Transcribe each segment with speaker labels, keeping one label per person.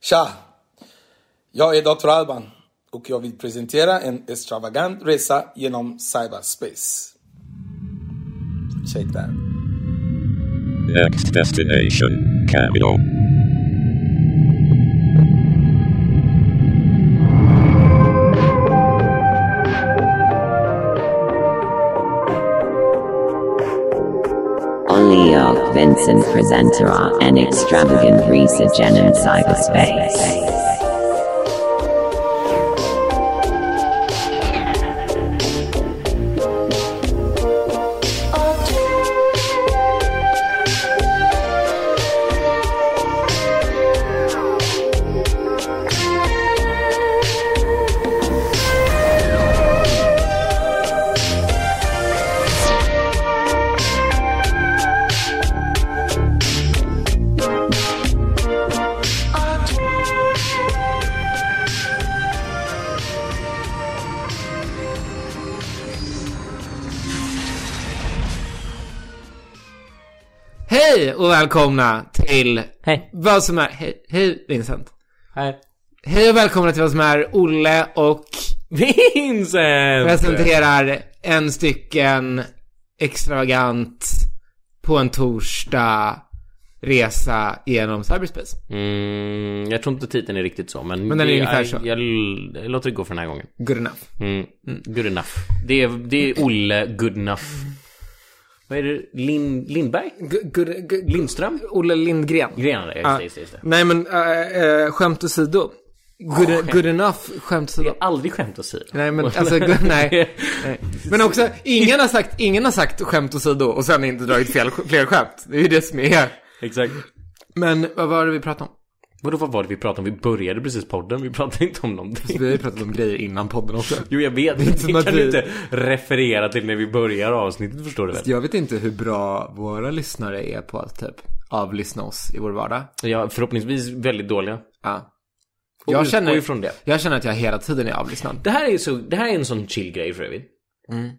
Speaker 1: Tja! Jag är Dr. Alban och jag vill presentera en extravagant resa genom cyberspace. Check that.
Speaker 2: Next destination, Camino.
Speaker 3: Oliok Vincent Presentera an extravagant Risa Genin cyberspace.
Speaker 4: Hej och välkomna till
Speaker 5: Hej.
Speaker 4: vad som är... Hej, hej Vincent.
Speaker 5: Hej.
Speaker 4: Hej och välkomna till vad som är Olle och
Speaker 5: Vincent!
Speaker 4: presenterar en stycken extravagant på en torsdag resa genom cyberspace.
Speaker 5: Mm, jag tror inte titeln är riktigt så, men...
Speaker 4: Men den är
Speaker 5: det-
Speaker 4: ungefär
Speaker 5: jag,
Speaker 4: så.
Speaker 5: Jag, jag låter det gå för den här gången.
Speaker 4: Good enough.
Speaker 5: Mm. Good enough. Det är, det är Olle Good enough. Vad är det? Lin, Lindberg?
Speaker 4: Gu- gu- gu-
Speaker 5: Lindström?
Speaker 4: Olle Lindgren.
Speaker 5: Grenare, just
Speaker 4: Ah,
Speaker 5: det, just det, just det.
Speaker 4: Nej men, äh, äh, skämt åsido. Good, good enough, skämt
Speaker 5: Det
Speaker 4: åsido.
Speaker 5: är aldrig skämt att säga.
Speaker 4: Nej men alltså, gu- nej. nej. Men också, ingen har sagt, ingen har sagt skämt åsido och sen inte dragit fel, fler skämt. Det är ju det som är.
Speaker 5: Exakt.
Speaker 4: Men vad var det vi pratade om?
Speaker 5: Vadå, vad var det vi pratade om? Vi började precis podden, vi pratade inte om någonting.
Speaker 4: Vi har ju pratat om grejer innan podden också.
Speaker 5: Jo, jag vet, men
Speaker 4: som
Speaker 5: det
Speaker 4: att
Speaker 5: kan
Speaker 4: vi-
Speaker 5: du inte referera till när vi börjar avsnittet, förstår du väl?
Speaker 4: Jag vet inte hur bra våra lyssnare är på att typ avlyssna oss i vår vardag.
Speaker 5: Ja, förhoppningsvis väldigt dåliga.
Speaker 4: Ja.
Speaker 5: Och
Speaker 4: Jag
Speaker 5: utgå
Speaker 4: känner,
Speaker 5: ifrån det.
Speaker 4: jag känner att jag hela tiden är avlyssnad.
Speaker 5: Det här är ju så, det här är en sån chill grej för övrigt. Mm.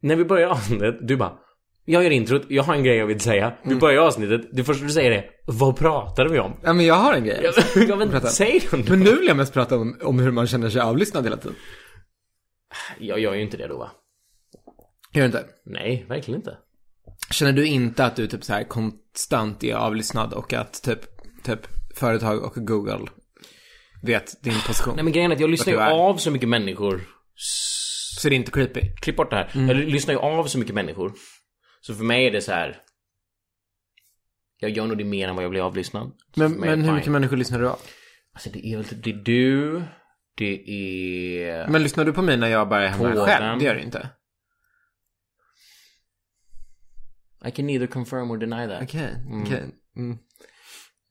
Speaker 5: När vi börjar avsnittet, du bara jag gör introt, jag har en grej jag vill säga. Vi börjar avsnittet, det första du säger är Vad pratade vi om?
Speaker 4: Ja, men jag har en grej.
Speaker 5: Jag vet inte,
Speaker 4: Prata.
Speaker 5: säg den då.
Speaker 4: Men nu vill jag mest prata om, om hur man känner sig avlyssnad hela tiden.
Speaker 5: Jag gör ju inte det då va?
Speaker 4: Gör du inte?
Speaker 5: Nej, verkligen inte.
Speaker 4: Känner du inte att du typ så här konstant är avlyssnad och att typ, typ företag och Google vet din position?
Speaker 5: Nej men grejen är att jag lyssnar ju
Speaker 4: Vart du är.
Speaker 5: av så mycket människor.
Speaker 4: Så det är inte creepy?
Speaker 5: Klipp bort det här. Jag lyssnar ju av så mycket människor. Så för mig är det så här. Jag gör nog det mer än vad jag blir avlyssnad. Så
Speaker 4: Men,
Speaker 5: för mig är
Speaker 4: men
Speaker 5: det
Speaker 4: hur
Speaker 5: fine.
Speaker 4: mycket människor lyssnar du av?
Speaker 5: Alltså det är väl typ, det är du, det är...
Speaker 4: Men lyssnar du på mig när jag bara är hemma
Speaker 5: Två av
Speaker 4: själv?
Speaker 5: dem.
Speaker 4: Det gör du inte.
Speaker 5: I can neither confirm or deny that.
Speaker 4: Okej, okej. Mm.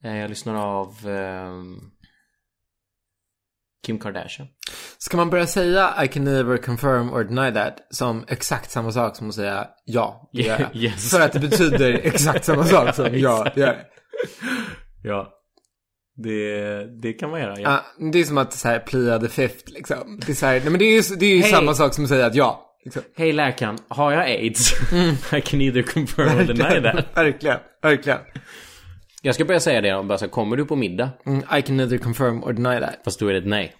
Speaker 5: Eh, Jag lyssnar av ehm, Kim Kardashian.
Speaker 4: Ska man börja säga I can never confirm or deny that som exakt samma sak som att säga ja, det gör jag.
Speaker 5: Yes.
Speaker 4: För att det betyder exakt samma sak som ja, det gör jag.
Speaker 5: Ja. Det, det kan man göra.
Speaker 4: Ah, det är som att så här plea the fifth liksom. Det är, så här, nej, men det är ju, det är ju
Speaker 5: Hej.
Speaker 4: samma sak som att säga att ja. Liksom.
Speaker 5: Hej läkaren, har jag aids? I can neither confirm or deny that.
Speaker 4: verkligen, verkligen.
Speaker 5: Jag ska börja säga det om bara så här, kommer du på middag?
Speaker 4: Mm, I can neither confirm or deny that.
Speaker 5: Fast då är det ett nej.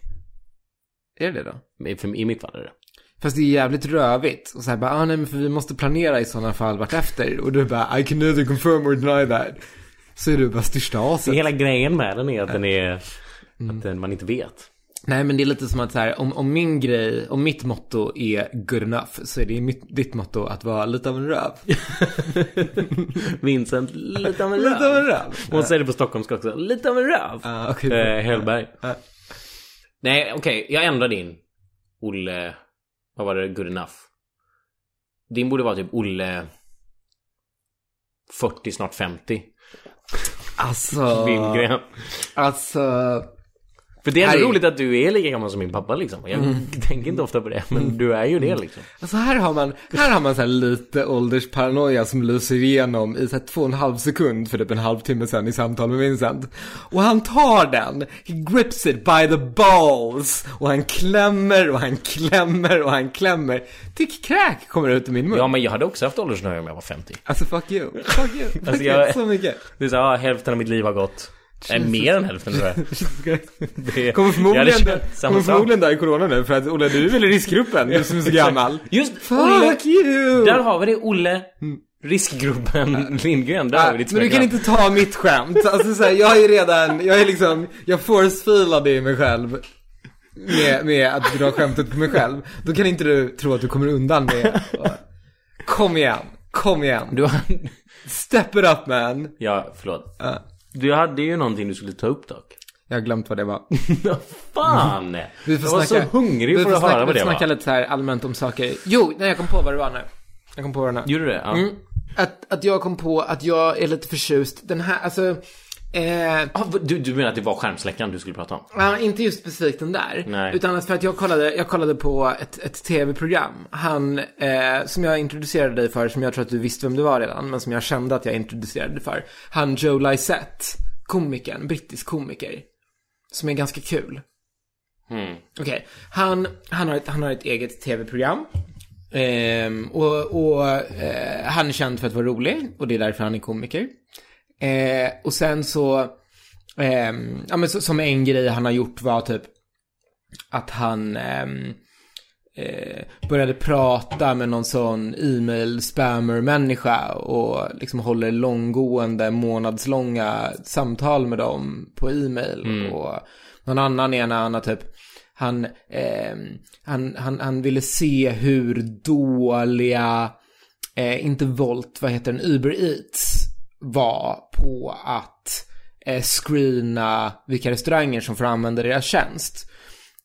Speaker 4: Är det det då?
Speaker 5: I- För, I mitt fall är det.
Speaker 4: Fast det är jävligt rövigt. Och så här bara, ah, nej men för vi måste planera i sådana fall vartefter. Och du bara, I can neither confirm or deny that. Så är du bara största aset.
Speaker 5: Hela grejen med den är att den är... Att den, man inte vet.
Speaker 4: Nej men det är lite som att så här, om, om min grej, om mitt motto är good enough så är det mitt, ditt motto att vara lite av en röv.
Speaker 5: Vincent, lite av en
Speaker 4: lite av en
Speaker 5: röv.
Speaker 4: röv.
Speaker 5: Hon säger det på stockholmska också. Lite av en röv.
Speaker 4: Ja, okej.
Speaker 5: Eh, Hellberg.
Speaker 4: Typ. Ja.
Speaker 5: Nej, okej. jag ändrar din. Olle... Vad var det? Good enough. Din borde vara typ Olle... 40, snart 50.
Speaker 4: Alltså,
Speaker 5: Lindgren.
Speaker 4: alltså,
Speaker 5: För det är ändå
Speaker 4: Harry.
Speaker 5: roligt att du är lika gammal som min pappa liksom. Jag
Speaker 4: Mm.
Speaker 5: tänker inte ofta på det, men du är ju det liksom.
Speaker 4: alltså här har man, här har man så här lite åldersparanoia som lyser igenom i så här två och en halv sekund för typ en halvtimme sedan i samtal med Vincent. Och han tar den, he grips it by the balls och han klämmer och han klämmer och han klämmer. Tick kräk kommer ut ur min mun.
Speaker 5: Ja, men jag hade också haft åldersnöje om jag var 50.
Speaker 4: Alltså fuck you, fuck you, fuck
Speaker 5: Alltså,
Speaker 4: you
Speaker 5: jag-
Speaker 4: så mycket.
Speaker 5: Det är så, ah, hälften av mitt liv har gått. Nej, mer än hälften tror jag. Det-
Speaker 4: Kommer
Speaker 5: jag
Speaker 4: förmodligen,
Speaker 5: hade
Speaker 4: dö,
Speaker 5: känt samma
Speaker 4: kommer
Speaker 5: sak.
Speaker 4: förmodligen dö i corona nu för att Olle du är väl i riskgruppen? Du som är så gammal.
Speaker 5: Just Olle.
Speaker 4: Fuck you!
Speaker 5: Där har vi det, Olle. Riskgruppen Lindgren. Där har vi ditt
Speaker 4: Ah, men du kan inte
Speaker 5: smeknamn.
Speaker 4: ta mitt skämt. Alltså så här, jag är redan, jag är liksom, jag forcefilar i mig själv. Med, med att dra skämtet på mig själv. Då kan inte du tro att du kommer undan med. Kom igen, kom igen.
Speaker 5: Du har...
Speaker 4: Step it up man.
Speaker 5: Ja, förlåt. Du hade ju någonting du skulle ta upp dock.
Speaker 4: Jag har glömt vad det var.
Speaker 5: Fan! jag var så hungrig för att höra vad det
Speaker 4: Vi får snacka
Speaker 5: var.
Speaker 4: lite så här allmänt om saker. Jo, nej jag kom på vad det var nu. Jag kom på vad det var nu.
Speaker 5: Gjorde du det? Ja.
Speaker 4: Mm. Att, att jag kom på att jag är lite förtjust. Den här, alltså. Eh,
Speaker 5: Ah, vad- du, du menar att det var skärmsläckaren du skulle prata om?
Speaker 4: Ja, inte just specifikt den där.
Speaker 5: Nej.
Speaker 4: Utan att för att jag kollade, jag kollade på ett, ett tv-program. Han, eh, som jag introducerade dig för, som jag tror att du visste vem det var redan, men som jag kände att jag introducerade dig för. Han Joe Lysette, komikern, brittisk komiker. Som är ganska kul. Okej, han, han, har ett, han har ett eget tv-program. Ehm, och och eh, han är känd för att vara rolig och det är därför han är komiker. Eh, och sen så, ehm, ja men så, som en grej han har gjort var typ att han ehm, eh, började prata med någon sån e-mail spammer människa och liksom håller långgående månadslånga samtal med dem på e-mail. Och någon annan är när han har typ han, ehm, han, han, han ville se hur dåliga, eh, inte Volt, vad heter den, Uber Eats var på att eh, screena vilka restauranger som får använda deras tjänst.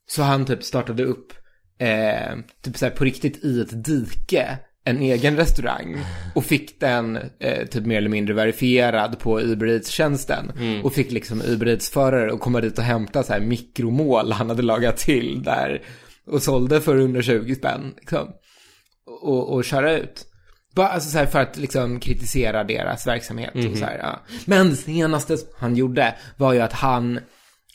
Speaker 4: Så han typ startade upp, eh, typ såhär på riktigt i ett dike, en egen restaurang. Och fick den eh, typ mer eller mindre verifierad på Uber Eats-tjänsten. Och fick liksom Uber Eats-förare att komma dit och hämta så här mikromål han hade lagat till där. Och sålde för 120 spänn liksom. Och, och köra ut. Bara alltså så här för att liksom kritisera deras verksamhet och så här, ja. Men det senaste han gjorde var ju att han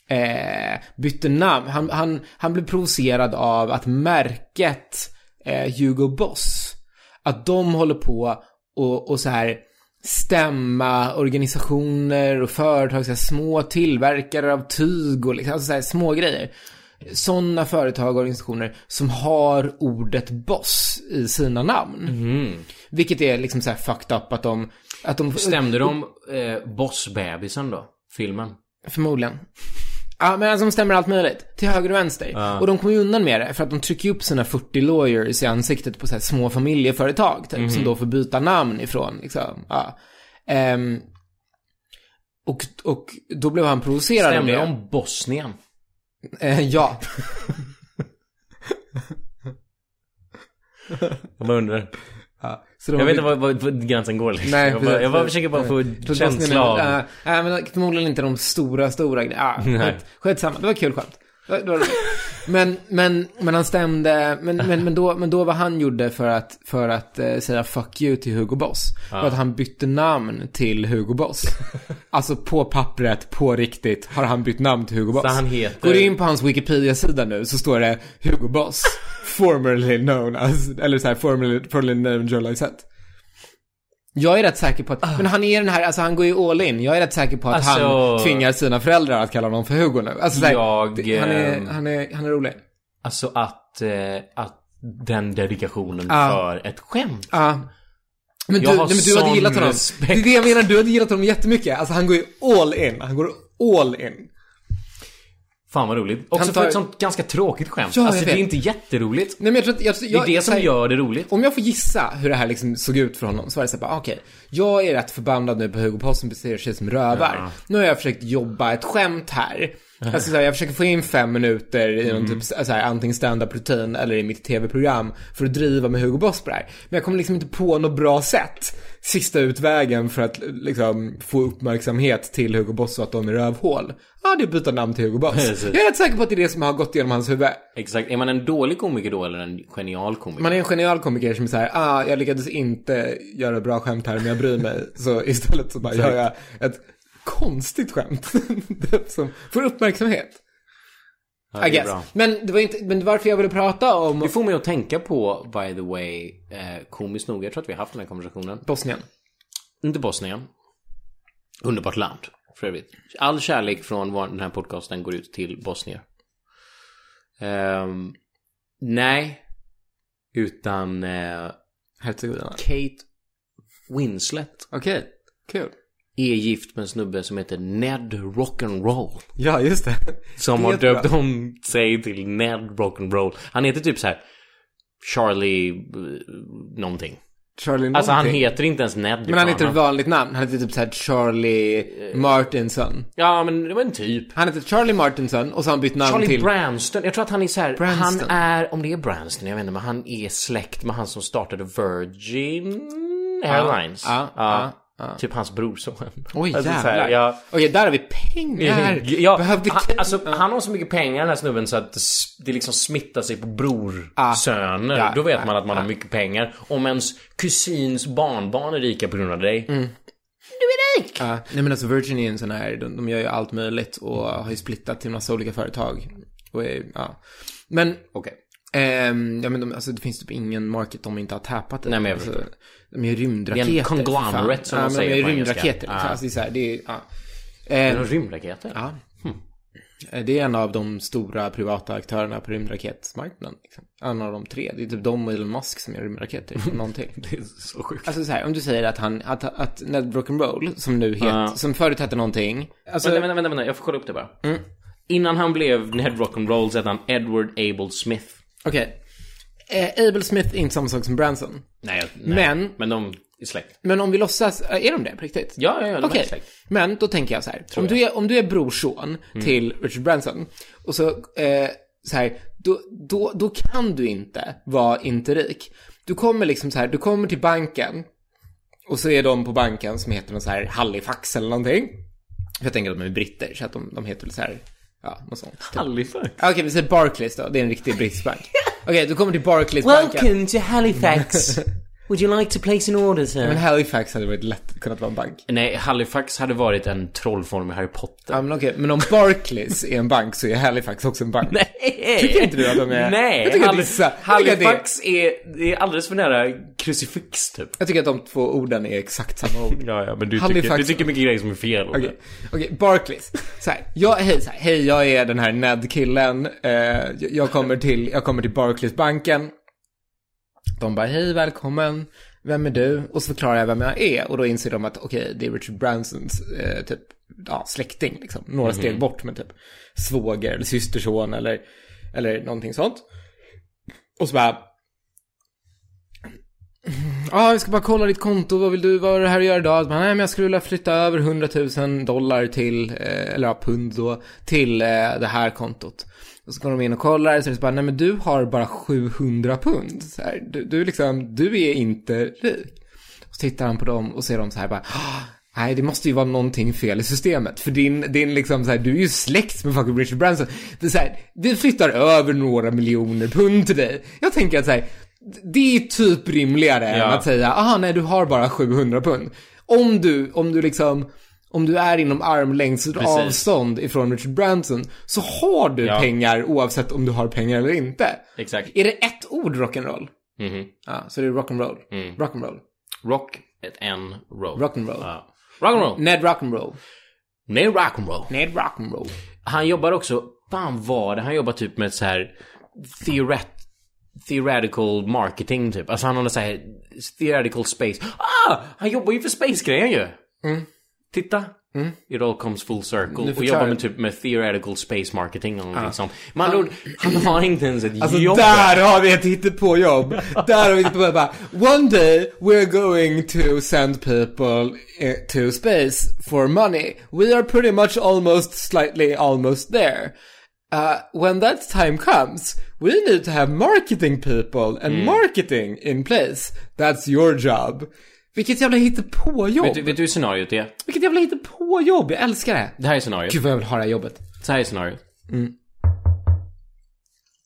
Speaker 4: eh, bytte namn. Han, han, han blev provocerad av att märket eh, Hugo Boss, att de håller på och, och så här stämma organisationer och företag, så här, små tillverkare av tyg och liksom, alltså så här, små grejer. Sådana företag och organisationer som har ordet boss i sina namn. Vilket är liksom så här fucked up att de... Att de
Speaker 5: Stämde de eh, bossbebisen då? Filmen?
Speaker 4: Förmodligen. Ja, men alltså de stämmer allt möjligt. Till höger och vänster. Och de kommer ju undan med det för att de trycker ju upp sina 40 lawyers i ansiktet på så här små familjeföretag typ,
Speaker 5: Mhm.
Speaker 4: som då får byta namn ifrån. Liksom. Ja. Ehm, och, och då blev han provocerad av
Speaker 5: Stämde
Speaker 4: det.
Speaker 5: de om Bosnien?
Speaker 4: Eh, ja.
Speaker 5: Jag bara undrar.
Speaker 4: Så de har
Speaker 5: Jag vet inte
Speaker 4: bytt-
Speaker 5: var, var, var gränsen går liksom.
Speaker 4: Nej,
Speaker 5: jag, bara, jag bara
Speaker 4: precis.
Speaker 5: försöker bara få
Speaker 4: För
Speaker 5: känsla av...
Speaker 4: Bosnien är- ja, ja, men förmodligen inte de stora, stora grejerna. Ah, skit, skitsamma, det var kul skämt. Det var- det var roligt. men, men, men han stämde, men, men, men, då, men då vad han gjorde för att, för att eh, säga fuck you till Hugo Boss, var att han bytte namn till Hugo Boss. alltså på pappret, på riktigt, har han bytt namn till Hugo Boss.
Speaker 5: han heter-
Speaker 4: Går du in på hans Wikipedia-sida nu så står det Hugo Boss, formerly known as, eller så här, formerly, formerly known Joe Lysette. Jag är rätt säker på att, men han är den här, alltså han går ju all in. Jag är rätt säker på att han
Speaker 5: Ah. Alltså-
Speaker 4: tvingar sina föräldrar att kalla honom för Hugo nu. Alltså, så här,
Speaker 5: Jag,
Speaker 4: det- han, är,
Speaker 5: ehm,
Speaker 4: han, är, han är rolig.
Speaker 5: Alltså att, eh, att den dedikationen
Speaker 4: Ja.
Speaker 5: för ett skämt.
Speaker 4: Ja. men du,
Speaker 5: jag
Speaker 4: nej,
Speaker 5: har
Speaker 4: men du
Speaker 5: sån
Speaker 4: hade gillat honom.
Speaker 5: respekt.
Speaker 4: Det är det jag menar, du hade gillat honom jättemycket. Alltså han går ju all in. Han går all in.
Speaker 5: Fan vad roligt. Också
Speaker 4: Han
Speaker 5: för
Speaker 4: tar-
Speaker 5: ett sånt ganska tråkigt skämt.
Speaker 4: Ja, jag
Speaker 5: alltså det är
Speaker 4: vet.
Speaker 5: inte jätteroligt.
Speaker 4: Nej men jag tror att, jag,
Speaker 5: Det är
Speaker 4: jag,
Speaker 5: det
Speaker 4: så
Speaker 5: som
Speaker 4: här-
Speaker 5: gör det roligt.
Speaker 4: Om jag får gissa hur det här liksom såg ut för honom så var det såhär, okej, jag är rätt förbannad nu på Hugo Post som beter sig som rövar. Nu har jag försökt jobba ett skämt här. Alltså, så här, jag försöker få in fem minuter i någon typ, så här, antingen stand-up rutin eller i mitt tv-program för att driva med Hugo Boss på det här. Men jag kommer liksom inte på något bra sätt. Sista utvägen för att liksom, få uppmärksamhet till Hugo Boss och att de är rövhål. Ja, det är att byta namn till Hugo Boss.
Speaker 5: Precis.
Speaker 4: Jag är rätt säker på att det är det som har gått igenom hans huvud.
Speaker 5: Exakt. Är man en dålig komiker då eller en genial komiker?
Speaker 4: Man är en genial komiker som är såhär, ah, jag lyckades inte göra bra skämt här men jag bryr mig. Så istället så bara gör jag ett konstigt skämt. som får uppmärksamhet.
Speaker 5: Ja, det
Speaker 4: I
Speaker 5: är
Speaker 4: guess.
Speaker 5: bra.
Speaker 4: Men det var inte, men varför jag ville prata om
Speaker 5: Det får mig att tänka på, by the way, eh, komiskt nog, jag tror att vi har haft den här konversationen.
Speaker 4: Bosnien.
Speaker 5: Inte Bosnien. Underbart land. för övrigt. All kärlek från var den här podcasten går ut till bosnier. Ehm, nej, utan eh,
Speaker 4: Herzegovina.
Speaker 5: Kate Winslet
Speaker 4: Okej, kul.
Speaker 5: är gift med en snubbe som heter Ned Rock'n'Roll.
Speaker 4: Ja, just det.
Speaker 5: Som
Speaker 4: Det
Speaker 5: har
Speaker 4: är bra.
Speaker 5: döpt om sig till Ned Rock'n'Roll. Han heter typ så här Charlie eh, någonting.
Speaker 4: Charlie
Speaker 5: Alltså han
Speaker 4: någonting.
Speaker 5: heter inte ens Ned. liksom.
Speaker 4: Men han
Speaker 5: fan. Eh.
Speaker 4: heter ett vanligt namn. Han heter typ såhär Charlie Martinson.
Speaker 5: Ja, men det var en typ.
Speaker 4: Han heter Charlie Martinson och så har han bytt namn
Speaker 5: Charlie
Speaker 4: till...
Speaker 5: Branston. Jag tror att han är så här,
Speaker 4: Branston.
Speaker 5: han är, om det är Branston, jag vet inte, men han är släkt med han som startade Virgin Airlines.
Speaker 4: ja,
Speaker 5: Ja. Typ hans brorson.
Speaker 4: Oj,
Speaker 5: Alltså, så här,
Speaker 4: jävlar.
Speaker 5: jag-
Speaker 4: Okej, där har vi pengar.
Speaker 5: Ja,
Speaker 4: Behövde
Speaker 5: han,
Speaker 4: Ken-
Speaker 5: alltså, han har så mycket pengar den här snubben så att det s- det liksom smittar sig på brorsöner.
Speaker 4: Ja.
Speaker 5: Då vet man att man har mycket pengar. Om ens kusins barnbarn är rika på grund av dig.
Speaker 4: Mm. Ja, nej men alltså Virgin är ju en sån här, de, de gör ju allt möjligt och har ju splittat till massa olika företag. Och är, ja. Men, okej. Ehm, ja men de, alltså det finns typ ingen market de inte har tappat
Speaker 5: Nej, men jag
Speaker 4: alltså,
Speaker 5: förstår.
Speaker 4: De är ju rymdraketer.
Speaker 5: Det är en
Speaker 4: för fan.
Speaker 5: conglomerate, som
Speaker 4: ja,
Speaker 5: de
Speaker 4: men
Speaker 5: säger
Speaker 4: De är
Speaker 5: på
Speaker 4: ju
Speaker 5: engelska.
Speaker 4: rymdraketer liksom.
Speaker 5: Ja.
Speaker 4: Alltså det är så här, det är, ja.
Speaker 5: Är
Speaker 4: Ehm,
Speaker 5: de rymdraketer?
Speaker 4: ja.
Speaker 5: Hmm.
Speaker 4: Eh, Det är en av de stora privata aktörerna på rymdraketmarknaden. Liksom. En av de tre. Det är typ de och Elon Musk som gör rymdraketer. och Någon till.
Speaker 5: Det är så sjukt.
Speaker 4: Alltså så här, om du säger att han, att, att Ned Rock'n'Roll, som nu heter,
Speaker 5: Ja.
Speaker 4: som förut hette någonting. Alltså,
Speaker 5: Vänta, vänta, vänta, vänta, jag får kolla upp det bara.
Speaker 4: Mm.
Speaker 5: Innan han blev Ned Rock'n'Roll så hette han Edward Abel Smith.
Speaker 4: okej. Eh, Abel Smith är inte samma sak som Branson.
Speaker 5: Nej, nej.
Speaker 4: Men-
Speaker 5: Men de är släkt.
Speaker 4: Men om vi låtsas, eh, är de det på riktigt?
Speaker 5: Ja, ja, ja, de
Speaker 4: Okej,
Speaker 5: är släkt.
Speaker 4: men då tänker jag så här. Om du, är, om du är brorson
Speaker 5: Mm.
Speaker 4: till Richard Branson och så, eh, så här, då, då, då kan du inte vara inte rik. Du kommer liksom så här, du kommer till banken och så är de på banken som heter någon så här Halifax eller någonting. För jag tänker att de är britter så att de, de heter väl så här, ja, något sånt. typ.
Speaker 5: Halifax.
Speaker 4: Ja, Okej, vi säger Barclays då. Det är en riktig brittisk bank. Okej, du kommer till Barclays-banken.
Speaker 5: to Halifax. Would you like to place an order,
Speaker 4: Men
Speaker 5: sir?
Speaker 4: Halifax hade varit lätt kunnat vara en bank.
Speaker 5: Nej, Halifax hade varit en trollform i Harry Potter.
Speaker 4: Ja, men okej. Men om Barclays är en bank så är Halifax också en bank. Tycker inte du att de är...
Speaker 5: Nej!
Speaker 4: Jag tycker att
Speaker 5: Halif-
Speaker 4: vissa... Jag tycker, att det,
Speaker 5: Halifax är, det är alldeles för nära krucifix, typ.
Speaker 4: jag tycker att de två orden är exakt samma ord.
Speaker 5: Ja, ja, men du
Speaker 4: Halifax-
Speaker 5: tycker, du tycker mycket grejer som är fel. om
Speaker 4: Okej,
Speaker 5: det.
Speaker 4: okej, Barclays. Så här, jag, hej, så här, hej, jag är den här Ned-killen. Eh, jag- jag, kommer till, jag kommer till Barclays-banken. De bara, hej, välkommen. Vem är du? Och så förklarar jag vem jag är. Och då inser de att, okej, det är Richard Bransons eh, typ, ja, släkting. Liksom. Några steg bort, men typ svåger eller systerson eller, eller någonting sånt. Och så bara, Ja, jag ska bara kolla ditt konto. Vad vill du, vad är det här att göra idag? Så Bara, nej, men jag skulle vilja flytta över 100 000 dollar till, eh, eller ja, pund då, till eh, det här kontot. Och så går de in och kollar, så är det så bara, nej men du har bara 700 pund. Så här, du, du liksom, du är inte rik. Och så tittar han på dem och ser dem så här bara, "Ah, nej det måste ju vara någonting fel i systemet. För din, din liksom så här, du är ju släkt med fucking Richard Branson. Det är så här, vi flyttar över några miljoner pund till dig. Jag tänker att så här, det är typ rimligare än
Speaker 5: Ja.
Speaker 4: att säga, aha nej du har bara 700 pund. Om du, om du liksom, om du är inom armlängds avstånd ifrån Richard Branson så har du
Speaker 5: Ja.
Speaker 4: pengar oavsett om du har pengar eller inte.
Speaker 5: Exakt.
Speaker 4: Är det ett ord rock'n'roll?
Speaker 5: Mhm. Mm.
Speaker 4: Ja, så det är rock'n'roll. Rock'n'roll.
Speaker 5: Rock, ett N, roll.
Speaker 4: Rock'n'roll.
Speaker 5: Ja. Rock'n'roll.
Speaker 4: Ned Rock'n'Roll.
Speaker 5: Nej, rock'n'roll.
Speaker 4: Ned Rock'n'Roll.
Speaker 5: Han jobbar också, fan var det, han jobbar typ med så här theoret, theoretical marketing typ. Alltså han har så här theoretical space. Ah! Han jobbar ju för space-grejen ju! Titta! It all comes full circle. Och
Speaker 4: förklarar
Speaker 5: jobbar
Speaker 4: du.
Speaker 5: med typ med theoretical space marketing eller någonting sånt. Med andra ord, han har inte ens ett
Speaker 4: Alltså
Speaker 5: jobb.
Speaker 4: där har vi ett hittepåjobb. där har vi ett hittepåjobb. Bara, One day we're going to send people eh, to space for money. We are pretty much almost slightly almost there. Uh, when that time comes, we need to have marketing people and marketing in place. That's your job. Vilket jävla
Speaker 5: Vet
Speaker 4: hittepåjobb.
Speaker 5: du, vet du hur scenariot är?
Speaker 4: Vilket jävla hittepåjobb. Jag älskar det.
Speaker 5: Det här är scenariot.
Speaker 4: Gud vad jag vill ha det här jobbet.
Speaker 5: Så här är scenariot.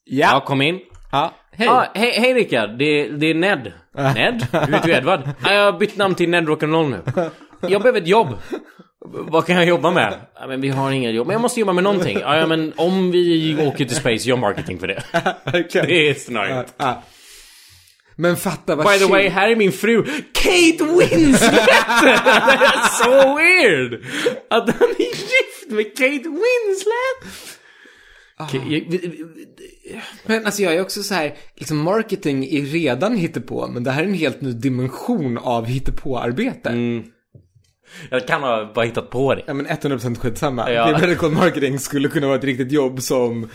Speaker 4: Ja.
Speaker 5: Ja, kom in.
Speaker 4: Ja, hej.
Speaker 5: Ah, hej, Ah. hej Rickard, det, det är Ned. Ned? Du heter ju Edvard. Ah, jag har bytt namn till Ned Rock'n'Roll nu. Jag behöver ett jobb. Vad kan jag jobba med? Ah, men vi har inga jobb. Men jag måste jobba med någonting. Ah, ja, men om vi åker till space, gör marketing för det.
Speaker 4: Verkligen.
Speaker 5: Det är scenariot.
Speaker 4: Ja. Men fatta vad
Speaker 5: By the
Speaker 4: chill-
Speaker 5: way, här är min fru. Kate Winslet! det är så weird! Att han är gift med Kate Winslet! Ka- jag-
Speaker 4: Men alltså jag är också så här, liksom marketing är redan hittepå, men det här är en helt ny dimension av hittepåarbete.
Speaker 5: Mm. Jag kan ha bara hittat på det.
Speaker 4: Ja men 100% skitsamma.
Speaker 5: Ja.
Speaker 4: Ja. Radical marketing skulle kunna vara ett riktigt jobb som...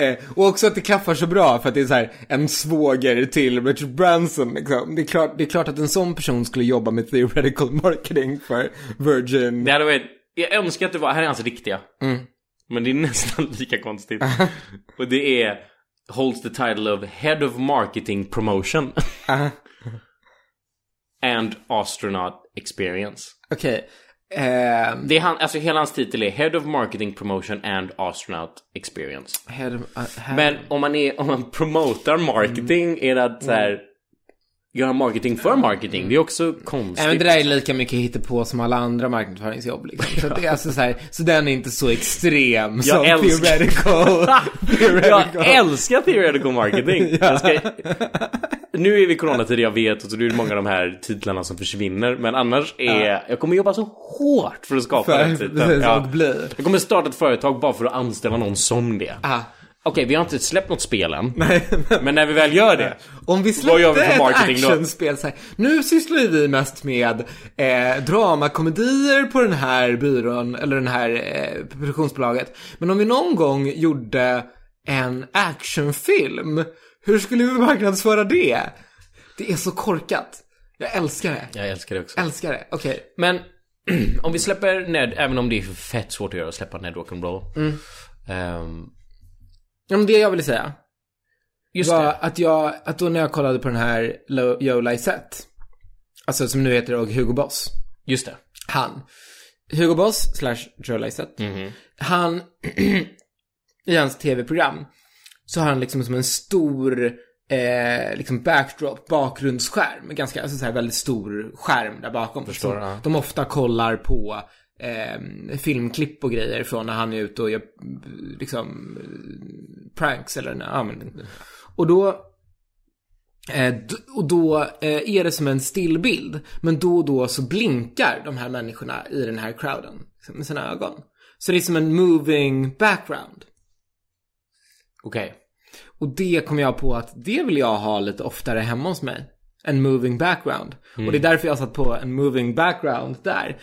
Speaker 4: Eh, och också att det klaffar så bra för att det är så här en svåger till Richard Branson liksom. Det är klart, det är klart att en sån person skulle jobba med theoretical marketing för Virgin.
Speaker 5: Det hade varit... Jag önskar att det var... Här är hans riktiga. Men det är nästan lika konstigt. Och det är... Holds the title of Head of Marketing Promotion. And Astronaut Experience.
Speaker 4: Okej. Eh,
Speaker 5: Det är han, alltså hela hans titel är Head of Marketing Promotion and Astronaut Experience.
Speaker 4: här, här.
Speaker 5: Men om man, är, om man promotar marketing är det att så här, göra marketing för marketing. Det är också konstigt.
Speaker 4: Nej, men det där är lika mycket hittepå som alla andra marknadsföringsjobb. Liksom. Så, att det är alltså så, här, så den är inte så extrem som
Speaker 5: älskar-
Speaker 4: theoretical. theoretical.
Speaker 5: jag älskar theoretical marketing. jag ska, nu är vi i coronatider, jag vet, och så det är många av de här titlarna som försvinner. Men annars är... Jag kommer jobba så hårt för att skapa
Speaker 4: För-
Speaker 5: den
Speaker 4: precis,
Speaker 5: titeln.
Speaker 4: och bli.
Speaker 5: Jag kommer starta ett företag bara för att anställa någon som det.
Speaker 4: Ah,
Speaker 5: Okej, vi har inte släppt något spel än. Men när vi väl gör det.
Speaker 4: Om vi
Speaker 5: Vad gör
Speaker 4: släppte
Speaker 5: vi för
Speaker 4: ett
Speaker 5: marketing då?
Speaker 4: actionspel så här, Nu sysslar ju vi mest med eh, dramakomedier på den här byrån, eller den här eh, produktionsbolaget. Men om vi någon gång gjorde en actionfilm, hur skulle vi marknadsföra det? Det är så korkat. Jag älskar det.
Speaker 5: Jag älskar det också.
Speaker 4: Älskar det. Okej.
Speaker 5: Men om vi släpper Ned, även om det är fett svårt att göra att släppa Ned Rock'n'Roll. Mm. Ehm,
Speaker 4: Ja, men det jag ville säga
Speaker 5: just
Speaker 4: var
Speaker 5: det.
Speaker 4: att jag, att då när jag kollade på den här Lo- Joe Lysette, alltså som nu heter Hugo Boss,
Speaker 5: Just det.
Speaker 4: han, Hugo Boss slash Joe Lysette, han, i hans tv-program, så har han liksom som en stor, eh, liksom backdrop, bakgrundsskärm, ganska, alltså så här väldigt stor skärm där bakom. Förstår
Speaker 5: ja.
Speaker 4: De ofta kollar på eh, filmklipp och grejer från när han är ute och gör liksom pranks eller ja, men, Och då eh, d- och då eh, är det som en stillbild. Men då och då så blinkar de här människorna i den här crowden liksom, med sina ögon. Så det är som en moving background.
Speaker 5: Okej.
Speaker 4: Och det kom jag på att det vill jag ha lite oftare hemma hos mig. En moving background. Och det är därför jag satt på en moving background där.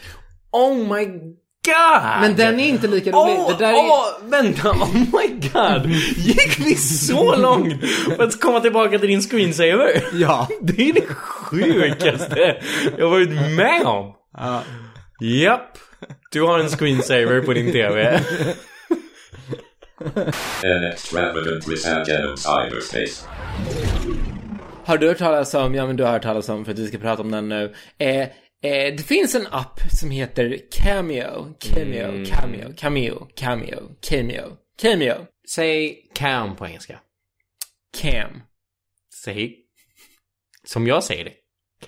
Speaker 5: Oh my god!
Speaker 4: Men den är inte lika rolig.
Speaker 5: Åh,
Speaker 4: det där är...
Speaker 5: åh, vänta, oh my god! Gick vi så långt för att komma tillbaka till din screensaver?
Speaker 4: Ja.
Speaker 5: Det är det sjukaste jag varit med om. Japp. Du har en screensaver på din TV.
Speaker 2: An extravagant presage of cyberspace.
Speaker 4: Har du hört talas om, ja men du har hört talas om för att vi ska prata om den nu. Eh, eh, det finns en app som heter Cameo. Cameo,
Speaker 5: Mm.
Speaker 4: Cameo, Cameo, Cameo, Cameo, Cameo.
Speaker 5: Säg cam på engelska.
Speaker 4: Cam.
Speaker 5: Säg. Som jag säger det.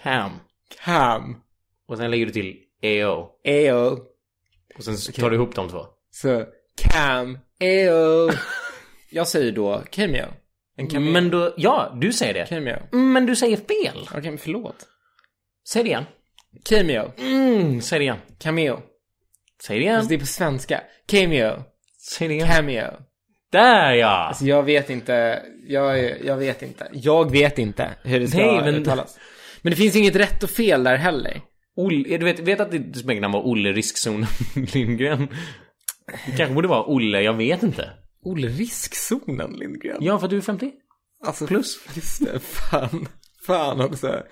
Speaker 5: Cam.
Speaker 4: Cam.
Speaker 5: Och sen lägger du till EO.
Speaker 4: Eo.
Speaker 5: Och sen tar du ihop de två.
Speaker 4: Så, Cam. Eo. Jag säger då Cameo. En cameo.
Speaker 5: Men då, ja, du säger det.
Speaker 4: Cameo.
Speaker 5: Mm, Men du säger fel.
Speaker 4: Okej, men förlåt.
Speaker 5: Säg det igen.
Speaker 4: Cameo.
Speaker 5: Mm, säg det igen.
Speaker 4: Cameo.
Speaker 5: Säg det igen.
Speaker 4: Alltså det är på svenska. Cameo.
Speaker 5: Säg det igen.
Speaker 4: Cameo.
Speaker 5: Där ja!
Speaker 4: Så jag vet inte, jag, är- jag vet inte. Jag vet inte hur det ska
Speaker 5: Nej, men-
Speaker 4: uttalas. Men det finns inget rätt och fel där heller.
Speaker 5: Olle, du vet, vet att ditt smeknamn var Olle Riskzon Lindgren? Det kanske borde vara Olle, jag vet inte.
Speaker 4: Olle Riskzonen Lindgren.
Speaker 5: Ja, för du är 50.
Speaker 4: Alltså, plus. Just det, fan. Fan också.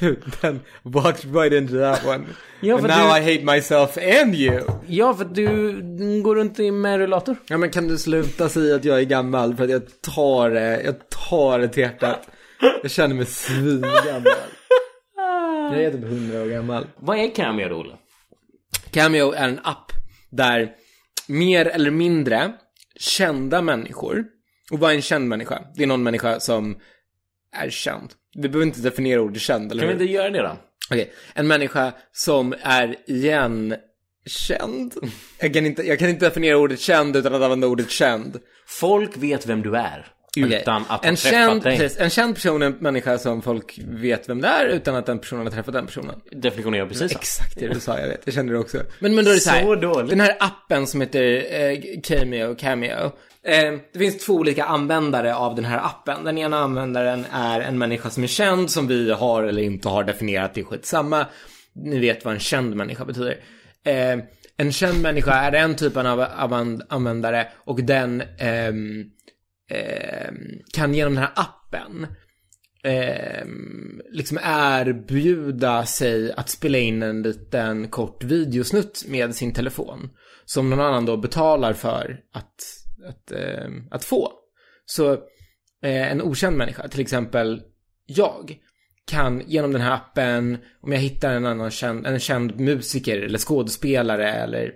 Speaker 4: Gud, den walked right into that one.
Speaker 5: Ja,
Speaker 4: And
Speaker 5: för
Speaker 4: now
Speaker 5: du-
Speaker 4: I hate myself and you.
Speaker 5: Ja, för du går runt i- med rullator.
Speaker 4: Ja men kan du sluta säga att jag är gammal för att jag tar det, jag tar det till hjärtat. Jag känner mig svingammal. Jag är typ hundra år gammal.
Speaker 5: Vad är Cameo då, Olle?
Speaker 4: Cameo är en app där mer eller mindre kända människor, och vad är en känd människa? Det är någon människa som är känd. Vi behöver inte definiera ordet känd, eller
Speaker 5: Kan vi
Speaker 4: hur?
Speaker 5: inte göra det då?
Speaker 4: Okej, en människa som är igenkänd. Jag kan, inte, jag kan inte definiera ordet känd utan att använda ordet känd.
Speaker 5: Folk vet vem du är. Utan att ha
Speaker 4: en
Speaker 5: träffat
Speaker 4: känd,
Speaker 5: dig.
Speaker 4: precis, en känd person är en människa som folk vet vem det är utan att den personen har träffat den personen.
Speaker 5: Definitionen jag precis sa.
Speaker 4: Exakt det du sa, jag vet. Jag känner det också. Men, men då är det så, här,
Speaker 5: Så dåligt.
Speaker 4: Den här appen som heter eh, Cameo, Cameo. Eh, det finns två olika användare av den här appen. Den ena användaren är en människa som är känd, som vi har eller inte har definierat, det är skitsamma. Ni vet vad en känd människa betyder. Eh, en känd människa är den typen av av- användare och den ehm, ehm, kan genom den här appen ehm, liksom erbjuda sig att spela in en liten kort videosnutt med sin telefon. Som någon annan då betalar för att, att, ehm, att få. Så eh, en okänd människa, till exempel jag, kan genom den här appen, om jag hittar en annan känd, en känd musiker eller skådespelare eller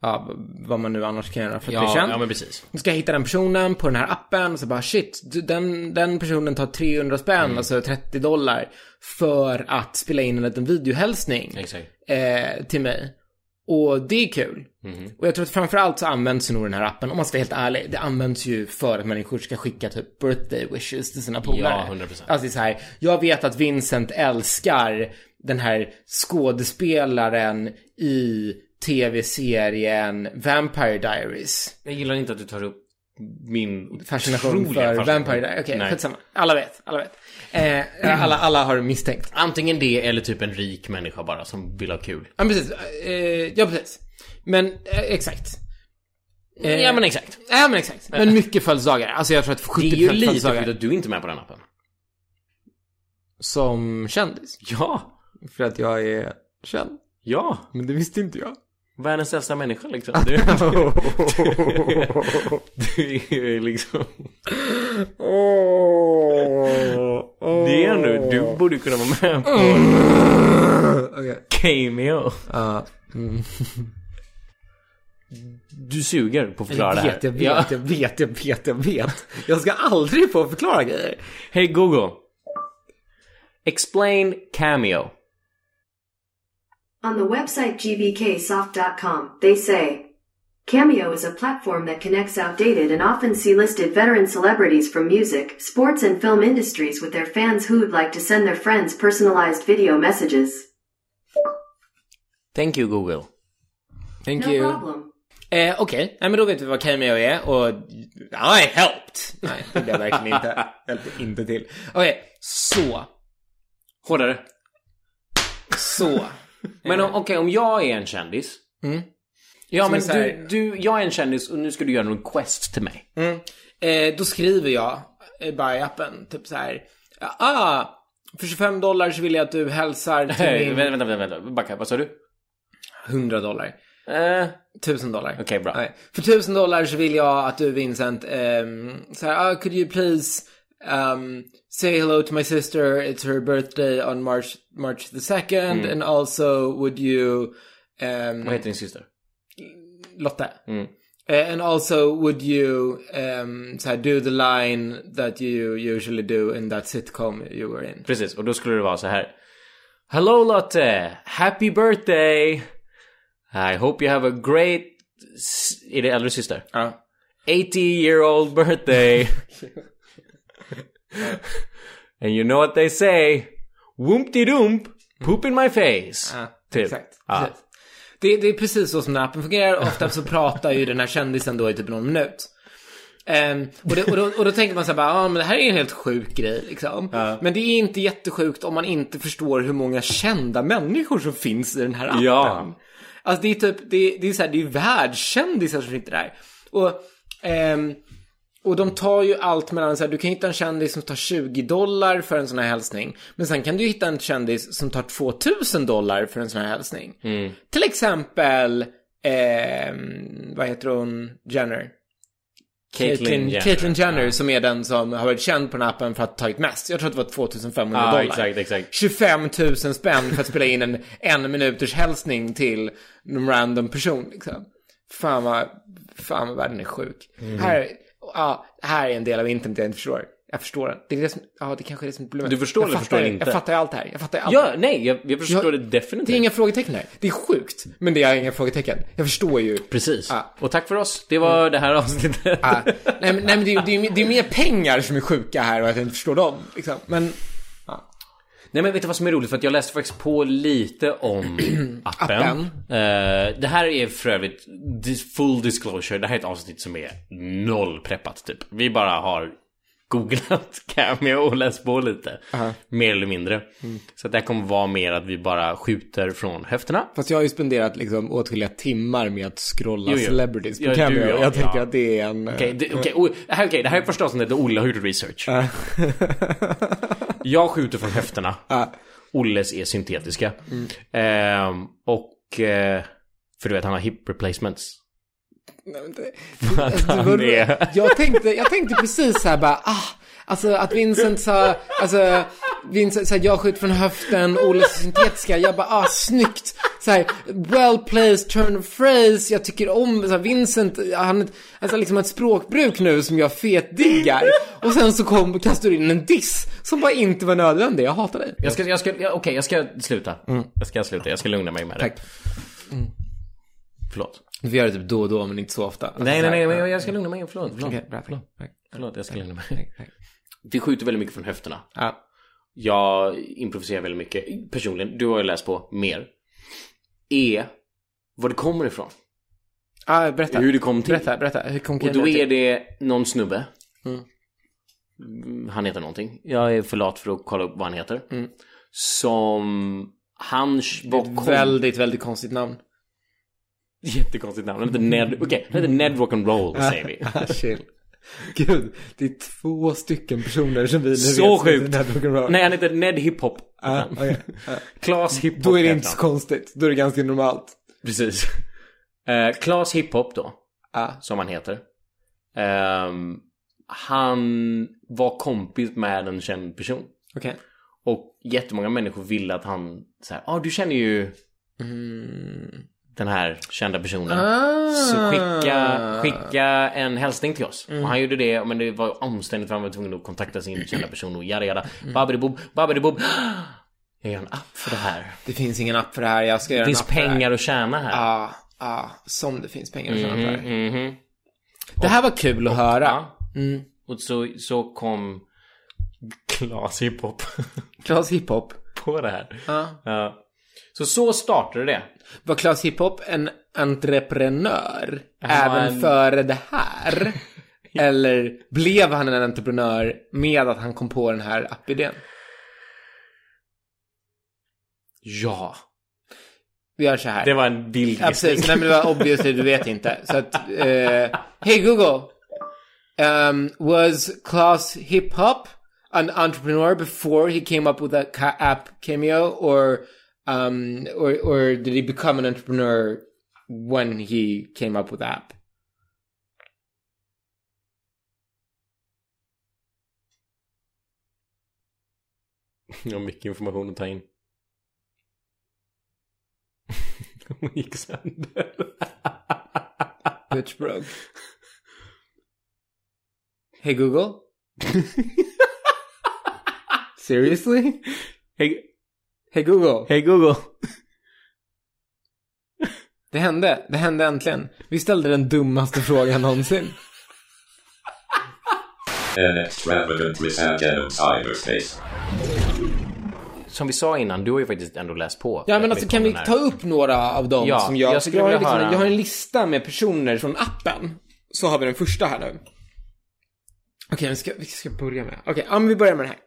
Speaker 4: ja, vad man nu annars kan göra för att bli
Speaker 5: Ja,
Speaker 4: känd.
Speaker 5: ja, men precis.
Speaker 4: Nu ska jag hitta den personen på den här appen och så bara shit, du, den, den personen tar 300 spänn, alltså 30 dollar, för att spela in en liten videohälsning
Speaker 5: Exakt.
Speaker 4: eh, till mig. Och det är kul. Och jag tror att framförallt så används nog den här appen, om man ska vara helt ärlig, det används ju för att människor ska skicka typ birthday wishes till sina polare.
Speaker 5: 100%.
Speaker 4: Alltså det är så här, jag vet att Vincent älskar den här skådespelaren i tv-serien Vampire Diaries
Speaker 5: Jag gillar inte att du tar upp min
Speaker 4: fascination
Speaker 5: otroliga
Speaker 4: för
Speaker 5: fascination.
Speaker 4: Vampire Diaries. Okej,
Speaker 5: Nej.
Speaker 4: skitsamma. Alla vet, alla vet. Eh, alla, alla har misstänkt.
Speaker 5: Antingen det eller typ en rik människa bara som vill ha kul.
Speaker 4: Ja, precis. Eh, ja, precis. Men, eh, exakt. Eh,
Speaker 5: Ja men exakt.
Speaker 4: Ja, men exakt. Men mycket födelsedagar. Alltså jag tror att 70%
Speaker 5: Det är ju lite
Speaker 4: födelsedagar
Speaker 5: sjukt att du inte är med på den appen.
Speaker 4: som kändis.
Speaker 5: Ja.
Speaker 4: För att jag är känd.
Speaker 5: Ja.
Speaker 4: Men det visste inte jag.
Speaker 5: Världens äldsta människa liksom. Du, du är liksom... Det är nu. Du borde kunna vara med på
Speaker 4: Mm. Okej.
Speaker 5: Cameo.
Speaker 4: Ja.
Speaker 5: Du suger på att förklara det
Speaker 4: Jag
Speaker 5: här.
Speaker 4: vet, jag vet,
Speaker 5: Ja.
Speaker 4: jag vet, jag vet, jag vet. Jag ska aldrig få förklara grejer.
Speaker 5: Hey Google. Explain Cameo.
Speaker 6: On the website gbksoft.com, they say Cameo is a platform that connects outdated and often C listed veteran celebrities from music, sports, and film industries with their fans who would like to send their friends personalized video messages.
Speaker 5: Thank you Google.
Speaker 4: Thank
Speaker 6: No problem.
Speaker 4: Eh, Okej, Nej, men då vet vi vad Cameo är och I helped. Nej, det blev verkligen inte. Hjälpte inte till. Okej, så.
Speaker 5: Hårdare.
Speaker 4: Så.
Speaker 5: Men om- okej, om jag är en kändis.
Speaker 4: Mm.
Speaker 5: Ja,
Speaker 4: Som
Speaker 5: men
Speaker 4: är så här-
Speaker 5: du, du, jag är en kändis och nu ska du göra en request till mig.
Speaker 4: Mm. Eh, då skriver jag eh, bara i appen typ så här. Ah, för 25 dollar så vill jag att du hälsar
Speaker 5: Hey,
Speaker 4: till min...
Speaker 5: vänta, vänta, vänta, vänta. Backa, vad sa du?
Speaker 4: 100 dollar.
Speaker 5: Eh,
Speaker 4: 1000 dollar.
Speaker 5: Okej, bra.
Speaker 4: Nej. För 1000 dollar så vill jag att du Vincent, ehm, så här, ah, could you please um, say hello to my sister, it's her birthday on March, March the 2nd and also would you, ehm,
Speaker 5: Mm. vad heter Mm. din syster?
Speaker 4: Lotta. Eh, and also would you um, så här, do the line that you usually do in that sitcom you were in?
Speaker 5: Precis, och då skulle det vara så här. Hello Lotte! Happy birthday! I hope you have a great... s- Är det äldre syster?
Speaker 4: Ja.
Speaker 5: 80 year old birthday. And you know what they say? Woompty doomp, poop in my face.
Speaker 4: Ja,
Speaker 5: Typ.
Speaker 4: Exakt.
Speaker 5: Ja.
Speaker 4: Precis. Det, det är precis så som den här appen fungerar. Ofta så pratar ju den här kändisen då i typ någon minut. Ehm, och, det, och, då, och då tänker man så här bara, ah, men det här är ju en helt sjuk grej liksom. Men det är inte jättesjukt om man inte förstår hur många kända människor som finns i den här appen.
Speaker 5: Ja.
Speaker 4: Alltså det är typ, det, det är så här, det är ju världskändisar som sitter där. Och, ehm, och de tar ju allt mellan så här, du kan hitta en kändis som tar 20 dollar för en sån här hälsning. Men sen kan du hitta en kändis som tar 2000 dollar för en sån här hälsning. Till exempel, ehm, vad heter hon, Jenner? Caitlyn Jenner, Caitlyn Jenner som är den som har varit känd på den här appen för att ha tagit mest. Jag tror att det var 2500
Speaker 5: Ja,
Speaker 4: dollar.
Speaker 5: exakt, exakt.
Speaker 4: 25 000 spänn för att spela in en en minuters hälsning till någon random person. Liksom.
Speaker 5: Mm.
Speaker 4: Fan, vad, fan vad världen är sjuk. Här, ja, här är en del av internet jag inte förstår. Jag förstår det. Det, är det, som, ja, det kanske är det som är problemet.
Speaker 5: Du förstår
Speaker 4: jag
Speaker 5: eller
Speaker 4: fattar
Speaker 5: förstår
Speaker 4: det.
Speaker 5: inte?
Speaker 4: Jag fattar ju allt det här. Jag fattar ju allt.
Speaker 5: Ja, nej, jag, jag förstår
Speaker 4: Jag-
Speaker 5: det definitivt.
Speaker 4: Det är inga frågetecken här. Det är sjukt, men det är inga frågetecken. Jag förstår ju.
Speaker 5: Precis.
Speaker 4: Ja.
Speaker 5: Och tack för oss. Det var
Speaker 4: Mm.
Speaker 5: det här avsnittet.
Speaker 4: Ah, nej, men, nej, men det, är- det, är, det är mer pengar som är sjuka här och att jag inte förstår dem. Liksom. Men
Speaker 5: Nej men vet du vad som är roligt? För att jag läste faktiskt på lite om appen.
Speaker 4: Appen.
Speaker 5: Eh, det här är för övrigt dis- full disclosure. Det här är ett avsnitt som är noll preppat typ. Vi bara har googlat Cameo och läst på lite. Mer eller mindre. Så att det här kommer vara mer att vi bara skjuter från höfterna.
Speaker 4: Fast jag har ju spenderat liksom åtskilliga timmar med att scrolla
Speaker 5: Jo, jo.
Speaker 4: celebrities på
Speaker 5: Ja, du,
Speaker 4: Cameo.
Speaker 5: ja,
Speaker 4: jag tänker
Speaker 5: ja.
Speaker 4: att det är en... eh,
Speaker 5: Okej, det, okej, o- det här- okej, det här är första avsnittet där Olle har gjort research. Jag skjuter från höfterna. Olles är syntetiska. Ehm, och... eh, för du vet, han har hip replacements.
Speaker 4: nej, men det-
Speaker 5: Att
Speaker 4: Alltså, det
Speaker 5: han
Speaker 4: var,
Speaker 5: är...
Speaker 4: jag, tänkte, jag tänkte precis så här bara, ah, alltså att Vincent sa, alltså, Vincent sa, jag skjuter från höften, Olle sa syntetiska, jag bara, ah, snyggt. Så här, well placed turn of phrase, jag tycker om, så här, Vincent, han alltså, liksom ett språkbruk nu som jag fetdiggar. Och sen så kom, kastade du in en diss som bara inte var nödvändig, jag hatar dig.
Speaker 5: Jag ska, jag ska, jag, okej, jag ska sluta. Jag ska sluta, jag ska lugna mig med det. Mm.
Speaker 4: Tack.
Speaker 5: Förlåt.
Speaker 4: Vi gör det typ då och då, men inte så ofta. Alltså,
Speaker 5: Nej,
Speaker 4: så
Speaker 5: nej,
Speaker 4: här,
Speaker 5: nej, men
Speaker 4: ja.
Speaker 5: jag, jag ska lugna mig. Förlåt, förlåt.
Speaker 4: Okej, bra, tack.
Speaker 5: förlåt.
Speaker 4: Tack.
Speaker 5: Förlåt, jag ska lugna mig.
Speaker 4: Tack, tack.
Speaker 5: Vi skjuter väldigt mycket från höfterna.
Speaker 4: Ja.
Speaker 5: Jag improviserar väldigt mycket. Personligen, du har ju läst på mer. Är var det kommer ifrån.
Speaker 4: Ah, berätta.
Speaker 5: Hur det kom till.
Speaker 4: Berätta, berätta. Hur kom
Speaker 5: Och då
Speaker 4: Kendall
Speaker 5: är
Speaker 4: till?
Speaker 5: det någon snubbe. Mm, Han heter någonting. Jag är för lat för att kolla upp vad han heter. Som han var
Speaker 4: Mm. Ett väldigt, väldigt konstigt namn.
Speaker 5: Jättekonstigt namn. Han heter Ned...
Speaker 4: Mm.
Speaker 5: Okej, han heter Ned Rock'n'Roll säger vi.
Speaker 4: Ah, Chill. Gud, det är två stycken personer som vi nu
Speaker 5: Så
Speaker 4: vet som
Speaker 5: sjukt!
Speaker 4: heter Ned Rock'n'Roll.
Speaker 5: Nej, han heter Ned Hiphop.
Speaker 4: Ah, okej. Ah,
Speaker 5: Klas Hiphop
Speaker 4: Då är det
Speaker 5: heter
Speaker 4: inte så
Speaker 5: han.
Speaker 4: konstigt. Då är det ganska normalt.
Speaker 5: Precis. Eh, Klas Hiphop då,
Speaker 4: Ah.
Speaker 5: som han heter. Ehm, han var kompis med en känd person.
Speaker 4: Okej.
Speaker 5: Och jättemånga människor ville att han så här, ah, du känner ju
Speaker 4: Mm.
Speaker 5: den här kända personen.
Speaker 4: Ah.
Speaker 5: Så skicka, skicka en hälsning till oss. Och han gjorde det, men det var omständigt för han var tvungen att kontakta sin kända person och jada jada.
Speaker 4: Mm.
Speaker 5: Babidi-bob, babidi-bob. Jag gör en app för det här.
Speaker 4: Det finns ingen app för det här. Jag ska göra
Speaker 5: Det finns
Speaker 4: en app för här.
Speaker 5: pengar att tjäna här.
Speaker 4: Ah, ah, som det finns pengar att tjäna på det här.
Speaker 5: Mhm.
Speaker 4: Det här var kul att höra. Mm.
Speaker 5: Ja. Och så, så kom Klas hiphop
Speaker 4: Klas Hiphop.
Speaker 5: på det här.
Speaker 4: Ah.
Speaker 5: Ja. Så så startade det.
Speaker 4: Var Klas Hiphop en entreprenör
Speaker 5: var
Speaker 4: även
Speaker 5: en-
Speaker 4: före det här? Eller blev han en entreprenör med att han kom på den här appidén?
Speaker 5: Ja.
Speaker 4: Vi gör så här.
Speaker 5: Det var en vild
Speaker 4: Ja, precis. Nej, men det var obviously, du vet inte. Så att, eh, hey Google. Um, was Klaus Hip Hop an entrepreneur before he came up with that ca- app Cameo or, um, or, or did he become an entrepreneur when he came up with the app?
Speaker 5: Jag har mycket information att ta in. Hon gick sönder.
Speaker 4: Bitch broke. Hey Google. Seriously?
Speaker 5: Hej
Speaker 4: Hey Google.
Speaker 5: hey Google.
Speaker 4: Det hände. Det hände äntligen. Vi ställde den dummaste frågan någonsin.
Speaker 2: An extravagant misanthrope of cyberspace.
Speaker 5: Som vi sa innan, du har ju faktiskt ändå läst på.
Speaker 4: Ja,
Speaker 5: rätt
Speaker 4: men alltså
Speaker 5: mycket
Speaker 4: kan
Speaker 5: om
Speaker 4: vi
Speaker 5: Liksom den här.
Speaker 4: ta upp några av dem
Speaker 5: Ja,
Speaker 4: som jag...
Speaker 5: jag skulle
Speaker 4: har
Speaker 5: vilja
Speaker 4: ju liksom,
Speaker 5: höra-
Speaker 4: jag har en lista med personer från appen. Så har vi den första här nu. Okej, vi ska, vi ska börja med... Okej, ja men vi börjar med den här.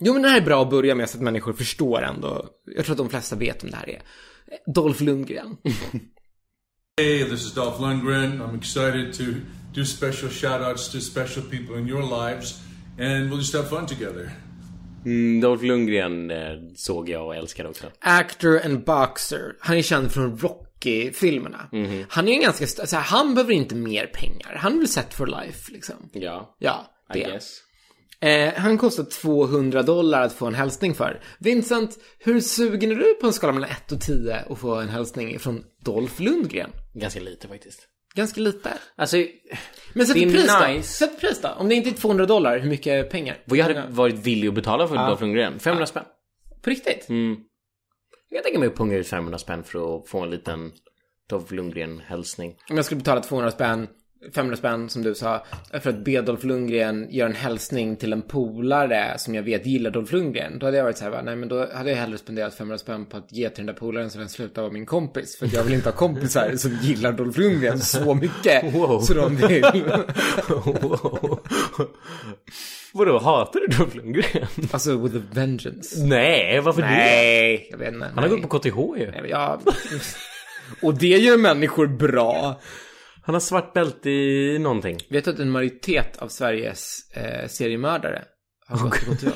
Speaker 4: Jo, men den här är bra att börja med så att människor förstår ändå. Jag tror att de flesta vet om det här är. Dolph Lundgren.
Speaker 7: Hey, this is Dolph Lundgren. I'm excited to do special shout outs to special people in your lives, and we'll just have fun together.
Speaker 5: Mm, Dolph Lundgren eh, såg jag och älskade också.
Speaker 4: Actor and boxer. Han är känd från Rocky-filmerna.
Speaker 5: Mhm.
Speaker 4: Han är en ganska... st- Så här, han behöver inte mer pengar. Han är väl set for life, liksom.
Speaker 5: Ja.
Speaker 4: Ja,
Speaker 5: I
Speaker 4: det.
Speaker 5: guess.
Speaker 4: Eh, han kostar 200 dollar att få en hälsning för. Vincent, hur sugen är du på en skala mellan 1 och 10 att få en hälsning från Dolph Lundgren?
Speaker 5: Ganska lite faktiskt.
Speaker 4: Ganska lite.
Speaker 5: Alltså,
Speaker 4: Men sätt
Speaker 5: Det
Speaker 4: ett
Speaker 5: är
Speaker 4: pris då.
Speaker 5: nice.
Speaker 4: Sätt ett pris då. Om det inte är 200 dollar, hur mycket pengar?
Speaker 5: vad jag hade varit villig att betala för Dolph Lundgren. 500 spänn.
Speaker 4: På riktigt?
Speaker 5: Jag kan tänka mig att punga ut 500 spänn för att få en liten Dolph Lundgren-hälsning.
Speaker 4: Om jag skulle betala 200 spänn, 500 spänn som du sa, för att be Dolph Lundgren göra en hälsning till en polare som jag vet gillar Dolph Lundgren. Då hade jag varit så här, va, nej men då hade jag hellre spenderat 500 spänn på att ge till den där polaren så den slutar vara min kompis. För att jag vill inte ha kompisar som gillar Dolph Lundgren Alltså, så mycket.
Speaker 5: Wow.
Speaker 4: Så de vill.
Speaker 5: Vadå, hatar du Dolph Lundgren?
Speaker 4: Alltså with a vengeance.
Speaker 5: Nej, varför
Speaker 4: Jag vet inte.
Speaker 5: Han har gått på KTH ju.
Speaker 4: Ja. Och det gör människor bra.
Speaker 5: Han har svart bälte i någonting.
Speaker 4: Vet du att en majoritet av Sveriges eh, seriemördare har gått på KTH?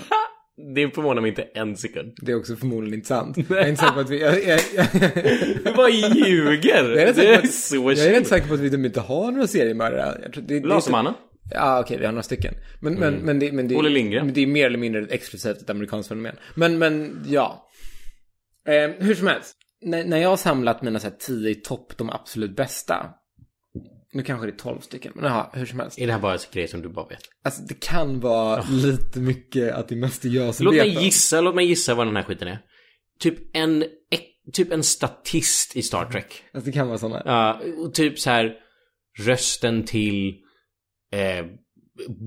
Speaker 5: Det förvånar mig inte en sekund.
Speaker 4: Det är också förmodligen inte sant. Jag är inte säker på att vi... Jag, jag, jag,
Speaker 5: Du bara ljuger!
Speaker 4: jag är rätt
Speaker 5: det
Speaker 4: säker
Speaker 5: är
Speaker 4: på
Speaker 5: så
Speaker 4: att, jag är rätt
Speaker 5: chill.
Speaker 4: säker på att vi de inte har några seriemördare. Jag tror- det- det är inte-
Speaker 5: Lasermannen? Mm.
Speaker 4: Ja, okej, vi har några stycken. Men, men, men, det, men, det,
Speaker 5: Olle Lindgren.
Speaker 4: men det är mer eller mindre ett exklusivt ett amerikanskt fenomen. Men, men, ja. Eh, hur som helst. När, när jag har samlat mina så här, tio i topp, de absolut bästa. Nu kanske det är tolv stycken, men jaha, hur som helst.
Speaker 5: Är det här bara grejer som du bara vet?
Speaker 4: Alltså, det kan vara lite mycket att det mest är jag som
Speaker 5: Låt
Speaker 4: vet.
Speaker 5: mig
Speaker 4: dem.
Speaker 5: gissa, låt mig gissa vad den här skiten är. Typ en, ek- typ en statist i Star Trek.
Speaker 4: Alltså, det kan vara sådana.
Speaker 5: Ja, och typ så här rösten till eh,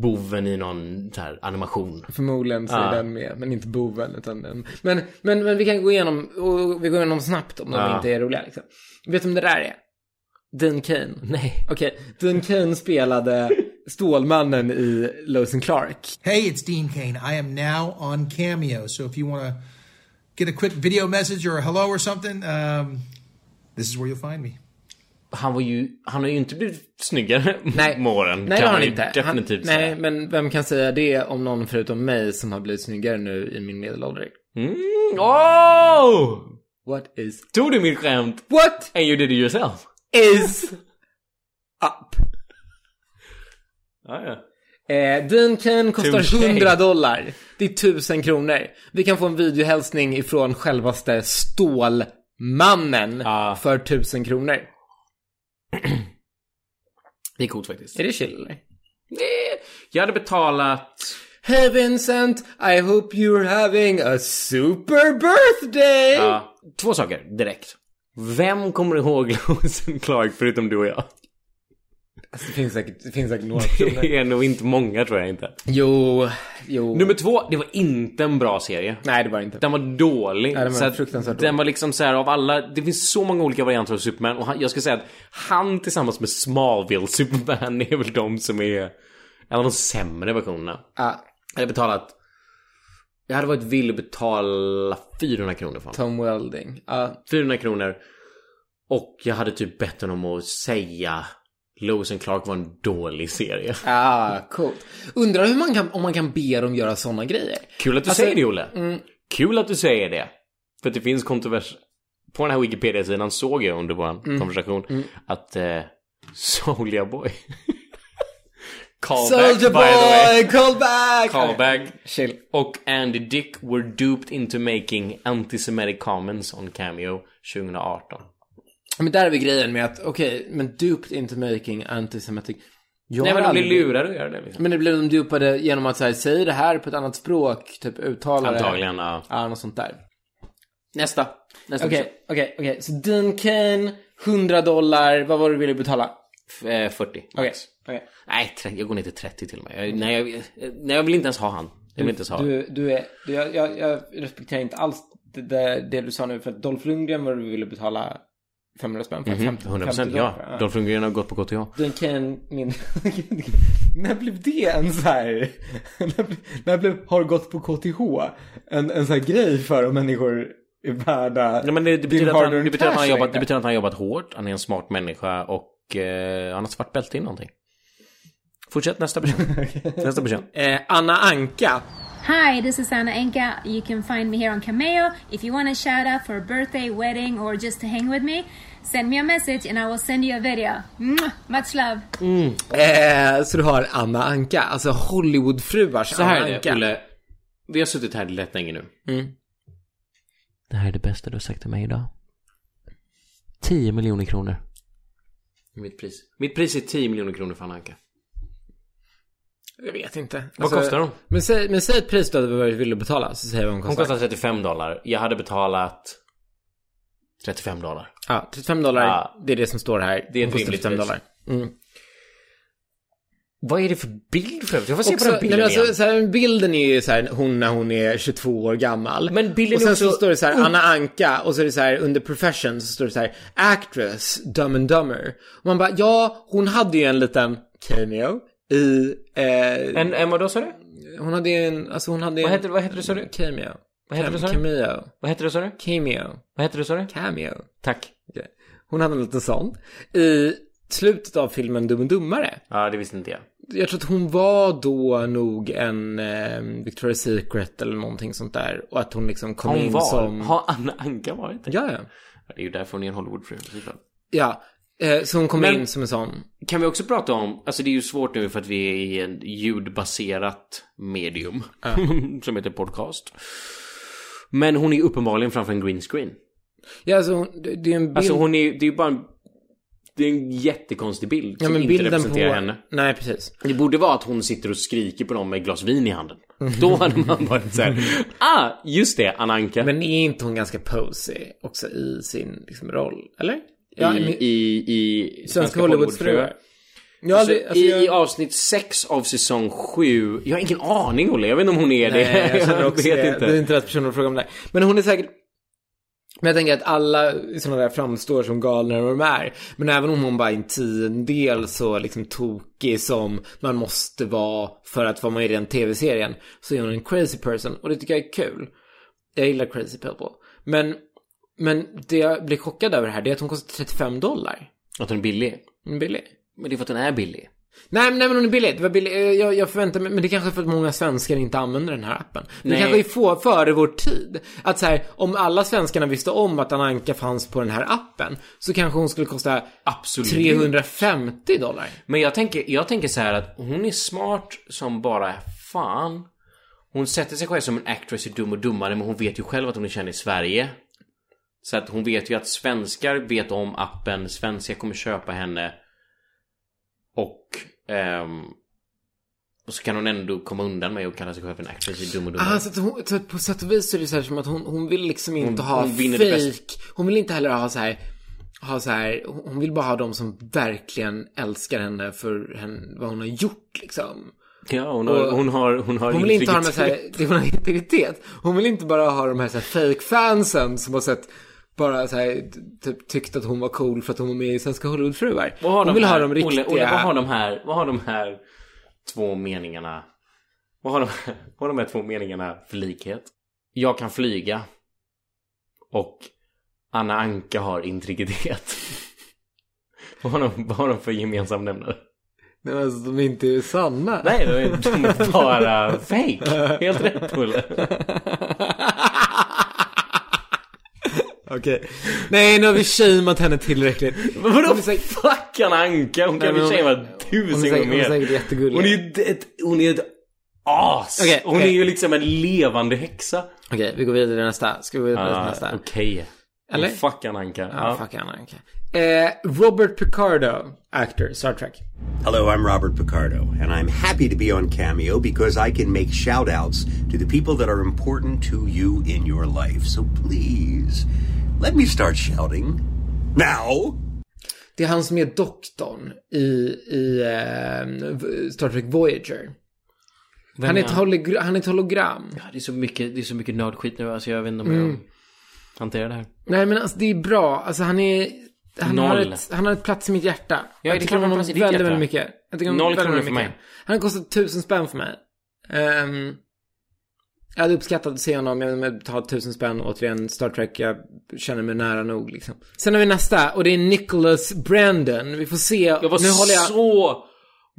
Speaker 5: boven i någon så här animation.
Speaker 4: Förmodligen så är
Speaker 5: Ja.
Speaker 4: den med, men inte boven. Utan den. Men, men, men vi kan gå igenom, och vi går igenom snabbt om de
Speaker 5: Ja.
Speaker 4: inte är roliga. Liksom. Vet du om det där är? Dean Kane.
Speaker 5: Nej.
Speaker 4: Okej, Dean Kane spelade Stålmannen i Lois and Clark.
Speaker 8: Hey, it's Dean Kane. I am now on Cameo. So if you want to get a quick video message or a hello or something, um, this is where you'll find me.
Speaker 5: Han var ju, han har ju inte blivit snyggare
Speaker 4: Nej.
Speaker 5: med åren.
Speaker 4: Nej, det
Speaker 5: kan
Speaker 4: har
Speaker 5: man
Speaker 4: han
Speaker 5: ju
Speaker 4: inte.
Speaker 5: Definitivt
Speaker 4: han, nej,
Speaker 5: säga.
Speaker 4: men vem kan säga det om någon förutom mig som har blivit snyggare nu i min medelålder?
Speaker 5: Mm, oh!
Speaker 4: What is...
Speaker 5: Tog du mitt skämt?
Speaker 4: What
Speaker 5: And you did it yourself?
Speaker 4: is up?
Speaker 5: Ja, ja.
Speaker 4: Eh, Dean Kane
Speaker 5: Touché.
Speaker 4: kostar 100 dollar. Det är 1000 kronor. Vi kan få en videohälsning ifrån självaste Stålmannen
Speaker 5: Ah.
Speaker 4: för 1000 kronor.
Speaker 5: Det är coolt faktiskt.
Speaker 4: Är det chill eller?
Speaker 5: Eh, Jag hade betalat...
Speaker 4: Hey Vincent, I hope you're having a super birthday!
Speaker 5: Ja, två saker direkt. Vem kommer ihåg Lois and Clark förutom du och jag?
Speaker 4: Det, finns säkert, det finns säkert några personer.
Speaker 5: Det är nog inte många tror jag inte.
Speaker 4: jo, jo.
Speaker 5: Nummer två, det var inte en bra serie.
Speaker 4: Nej, det var det inte.
Speaker 5: Typ. Den var dålig.
Speaker 4: den var
Speaker 5: Så att
Speaker 4: fruktansvärt
Speaker 5: Den
Speaker 4: dålig.
Speaker 5: var liksom så här av alla, det finns så många olika varianter av Superman och han, jag ska säga att han tillsammans med Smallville Superman är väl de som är en av de sämre versionerna.
Speaker 4: Ah,
Speaker 5: Jag hade betalat, jag hade varit villig att betala 400 kronor för honom.
Speaker 4: Tom Welding. Ah, Ja,
Speaker 5: 400 kronor. Och jag hade typ bett honom att säga Lois and Clark var en dålig serie.
Speaker 4: ah, coolt. Undrar hur man kan, om man kan be dem göra sådana grejer.
Speaker 5: Kul att du
Speaker 4: Alltså,
Speaker 5: säger det, Olle. Kul att du säger det. För att det finns kontrovers. På den här Wikipedia-sidan såg jag under vår konversation att eh, Soulja Boy... Callback,
Speaker 4: Soldier
Speaker 5: by the way.
Speaker 4: boy, callback!
Speaker 5: Callback.
Speaker 4: Chill.
Speaker 5: Och Andy Dick were duped into making anti-Semitic comments on Cameo 2018.
Speaker 4: Men där är vi grejen med att, okej, men duped into making antisemitic. Jag
Speaker 5: Nej
Speaker 4: har
Speaker 5: men de blir
Speaker 4: aldrig-
Speaker 5: lurade att göra det liksom.
Speaker 4: Men det blev de dupade genom att så här, säga det här på ett annat språk, typ uttala det.
Speaker 5: Antagligen, ja.
Speaker 4: Ja, något sånt där.
Speaker 5: Nästa. Nästa
Speaker 4: Okej, okej, okej. Så Dean Kane, 100 dollar, vad var det du ville betala?
Speaker 5: person. Eh, 40.
Speaker 4: Okej,
Speaker 5: Nej, 30, jag går ner till 30 till och med. Jag, nej, jag, eh, nej, jag vill inte ens ha han. Jag vill inte ens ha
Speaker 4: Du, du är, du, jag, jag, jag respekterar inte alls det, det, det du sa nu, för att Dolph Lundgren var det du ville betala 500 spänn för. 50, 50
Speaker 5: 100 Mhm, procent,
Speaker 4: Mm. dollar
Speaker 5: ja.
Speaker 4: för.
Speaker 5: Dolph Lundgren har gått på KTH.
Speaker 4: Den kan min... när blev det en så här... när, blev, när blev har gått på KTH en, en så här grej för om människor är värda
Speaker 5: Nej, men det, det,
Speaker 4: din
Speaker 5: betyder att han,
Speaker 4: hard-earned
Speaker 5: det, betyder att han har
Speaker 4: cash
Speaker 5: jobbat,
Speaker 4: längre?
Speaker 5: det betyder att han har jobbat hårt, han är en smart människa och eh, han har svart bälte i någonting. Fortsätt nästa person. nästa person.
Speaker 4: Eh, Anna Anka.
Speaker 9: Hi, this is Anna Enka. You can find me here on Cameo. If you want a shout out for a birthday, wedding, or just to hang with me, send me a message and I will send you a video. Mwah! Much love.
Speaker 4: Eh, så du har Anna Anka, alltså Hollywoodfruars
Speaker 5: Så här
Speaker 4: Anna
Speaker 5: är det,
Speaker 4: Anka.
Speaker 5: Olle. Vi har suttit här rätt länge nu. Det här är det bästa du har sagt till mig idag. 10 miljoner kronor. Mitt pris. Mitt pris är 10 miljoner kronor för Anna Anka.
Speaker 4: Jag vet inte. Alltså,
Speaker 5: Vad kostar de?
Speaker 4: Men säg, men säg ett pris då vad du ville betala så säger vi vad de
Speaker 5: Hon
Speaker 4: kostar.
Speaker 5: kostar 35 dollar. Jag hade betalat 35 dollar.
Speaker 4: Ja, 35 dollar.
Speaker 5: Ja.
Speaker 4: Det är det som står här.
Speaker 5: Det är
Speaker 4: Hon
Speaker 5: ett
Speaker 4: kostar
Speaker 5: rimligt
Speaker 4: 35
Speaker 5: pris.
Speaker 4: dollar. Mm.
Speaker 5: Vad är det för bild för övrigt? Jag får se
Speaker 4: Också,
Speaker 5: på den
Speaker 4: nej, men
Speaker 5: bilden
Speaker 4: alltså,
Speaker 5: igen.
Speaker 4: så här, bilden är ju så här, hon när hon är 22 år gammal.
Speaker 5: Men bilden
Speaker 4: och sen
Speaker 5: är också-
Speaker 4: så står det så här, Anna Anka, och så är det så här, under profession så står det så här, actress, dumb and dumber. Och man bara, ja, hon hade ju en liten cameo i, eh,
Speaker 5: En, en vadå sa du?
Speaker 4: hon hade ju en, alltså hon hade
Speaker 5: Vad
Speaker 4: en...
Speaker 5: heter- vad heter det, sa du?
Speaker 4: Cameo.
Speaker 5: Vad heter
Speaker 4: Cam-
Speaker 5: det, sa du?
Speaker 4: Cameo.
Speaker 5: Vad heter du sa du?
Speaker 4: Cameo.
Speaker 5: Vad heter du sa du?
Speaker 4: Cameo.
Speaker 5: Tack.
Speaker 4: Hon hade en liten sån. I slutet av filmen Dum och Dummare.
Speaker 5: Ja, det visste inte jag.
Speaker 4: Jag tror att hon var då nog en eh, Victoria's Secret eller någonting sånt där. Och att hon liksom kom
Speaker 5: Hon
Speaker 4: in
Speaker 5: var.
Speaker 4: som...
Speaker 5: Har Anna Anka varit det?
Speaker 4: Ja, ja.
Speaker 5: Det är ju därför hon är en Hollywoodfru. i så fall.
Speaker 4: Ja. Eh, så hon kom
Speaker 5: Men-
Speaker 4: in som en sån.
Speaker 5: Kan vi också prata om, alltså det är ju svårt nu för att vi är i en ljudbaserat medium. som heter podcast. Men hon är ju uppenbarligen framför en green screen.
Speaker 4: Ja, alltså hon, det det är en bild...
Speaker 5: Alltså hon är ju, det är ju bara en, det är en jättekonstig bild
Speaker 4: ja,
Speaker 5: som
Speaker 4: men
Speaker 5: inte
Speaker 4: bilden på...
Speaker 5: representerar henne.
Speaker 4: Nej, precis.
Speaker 5: Det borde vara att hon sitter och skriker på dem med ett glas vin i handen. Då hade man varit såhär, ah, just det, Anna Anka.
Speaker 4: Men är inte hon ganska posy också i sin liksom, roll? Eller? Ja,
Speaker 5: I,
Speaker 4: men-
Speaker 5: i, i
Speaker 4: Svenska Hollywoodfruar. Ja,
Speaker 5: Alltså,
Speaker 4: det, alltså,
Speaker 5: i,
Speaker 4: jag...
Speaker 5: I avsnitt 6 av säsong 7, jag har ingen aning Olle, jag vet inte om hon är
Speaker 4: Nej,
Speaker 5: det.
Speaker 4: Eh, jag känner också
Speaker 5: vet
Speaker 4: det.
Speaker 5: inte.
Speaker 4: Det är inte rätt person att fråga om det. Men hon är säkert... Men jag tänker att alla sådana där framstår som galna och de är. Men även om hon bara är en tiondel så liksom tokig som man måste vara för att vara med i den tv-serien. Så är hon en crazy person och det tycker jag är kul. Jag gillar crazy people. Men, men det jag blir chockad över här det är att hon kostar 35 dollar.
Speaker 5: Att hon är billig.
Speaker 4: Hon är billig.
Speaker 5: Men det är för att hon är billig.
Speaker 4: Nej, men- nej men hon är billig. Det var billig. Eh, Jag, jag förväntar mig, men det kanske är för att många svenskar inte använder den här appen. Men det
Speaker 5: Nej.
Speaker 4: kanske är få före vår tid. Att så här, om alla svenskarna visste om att Anna Anka fanns på den här appen så kanske hon skulle kosta
Speaker 5: Absolut.
Speaker 4: 350 dollar.
Speaker 5: Men jag tänker, jag tänker så här att hon är smart som bara fan. Hon sätter sig själv som en actress i Dum och Dummare men hon vet ju själv att hon är känd i Sverige. Så att hon vet ju att svenskar vet om appen, svenskar kommer köpa henne. Och... ehm, och så kan hon ändå komma undan med att kalla sig själv för en actress i Dum och Dummare.
Speaker 4: Ah, så att hon, så att på sätt och vis så är det så här som att hon, hon vill liksom inte
Speaker 5: Hon-
Speaker 4: ha
Speaker 5: hon vinner det bästa.
Speaker 4: fake. Hon vill inte heller ha så här, ha så här, hon- hon vill bara ha de som verkligen älskar henne för henne, vad hon har gjort liksom.
Speaker 5: ja, hon har,
Speaker 4: och-
Speaker 5: hon har, hon har
Speaker 4: Hon vill inte ha de här,
Speaker 5: integritet.
Speaker 4: så här det är hon har integritet. Hon vill inte bara ha de här, så här fake fansen som har sett bara så här, typ tyckt att hon var cool för att hon var med i Svenska Hollywoodfruar.
Speaker 5: Vad har
Speaker 4: Hon
Speaker 5: de
Speaker 4: vill
Speaker 5: här,
Speaker 4: ha de riktiga.
Speaker 5: Olle, Olle, vad har de här, vad har de här två meningarna, vad har de, vad har de här två meningarna för likhet? Jag kan flyga och Anna Anka har integritet. vad, har de, vad har de för gemensam nämnare?
Speaker 4: Nej, men alltså, de är inte sanna.
Speaker 5: Nej, de är, de är bara fake. Helt rätt Olle.
Speaker 4: Okej. Nej, nu har vi shameat henne tillräckligt.
Speaker 5: Men vadå
Speaker 4: Hon är säkert-
Speaker 5: fuck Anna Anka? Hon
Speaker 4: Nej, men
Speaker 5: kan väl
Speaker 4: hon-
Speaker 5: säga
Speaker 4: hon
Speaker 5: vad
Speaker 4: Hon är
Speaker 5: tusen gånger
Speaker 4: säkert, hon är
Speaker 5: mer.
Speaker 4: säkert jättegullig.
Speaker 5: Hon är ju ett, hon är ett as.
Speaker 4: Okej,
Speaker 5: hon
Speaker 4: okej.
Speaker 5: är ju liksom en levande häxa.
Speaker 4: Okej, vi går vidare till nästa. Ska vi gå vidare till
Speaker 5: Ah,
Speaker 4: nästa?
Speaker 5: Okej.
Speaker 4: Eller?
Speaker 5: Fuck Ananka.
Speaker 4: Ja, fuck Anna Anka. Eh, Robert Picardo, actor, Star Trek.
Speaker 10: Hello, I'm Robert Picardo, and I'm happy to be on Cameo because I can make shout outs to the people that are important to you in your life. So please, let me start shouting now.
Speaker 4: Det är han som är doktorn i, i eh, v- Star Trek Voyager. Han är, ett hologra- han är ett hologram.
Speaker 5: Ja, det är så mycket, det är så mycket nördskit nu. Alltså jag vet inte om jag hanterar det här.
Speaker 4: Nej men alltså det är bra. Alltså han är... Han har,
Speaker 5: Noll.
Speaker 4: ett, han har ett plats i mitt hjärta.
Speaker 5: det är
Speaker 4: tycker
Speaker 5: klart
Speaker 4: om
Speaker 5: han har
Speaker 4: honom
Speaker 5: plats i ditt
Speaker 4: väldigt,
Speaker 5: hjärta.
Speaker 4: väldigt mycket. Jag tycker om
Speaker 5: Noll
Speaker 4: väldigt,
Speaker 5: kronor
Speaker 4: väldigt
Speaker 5: för
Speaker 4: mycket.
Speaker 5: mig.
Speaker 4: Han har kostat tusen spänn för mig. Ehm, jag hade uppskattat att se honom, jag hade betalat tusen spänn. Återigen, Star Trek, jag känner mig nära nog liksom. Sen har vi nästa, och det är Nicholas Brandon. Vi får se.
Speaker 5: Jag var
Speaker 4: nu håller jag...
Speaker 5: så...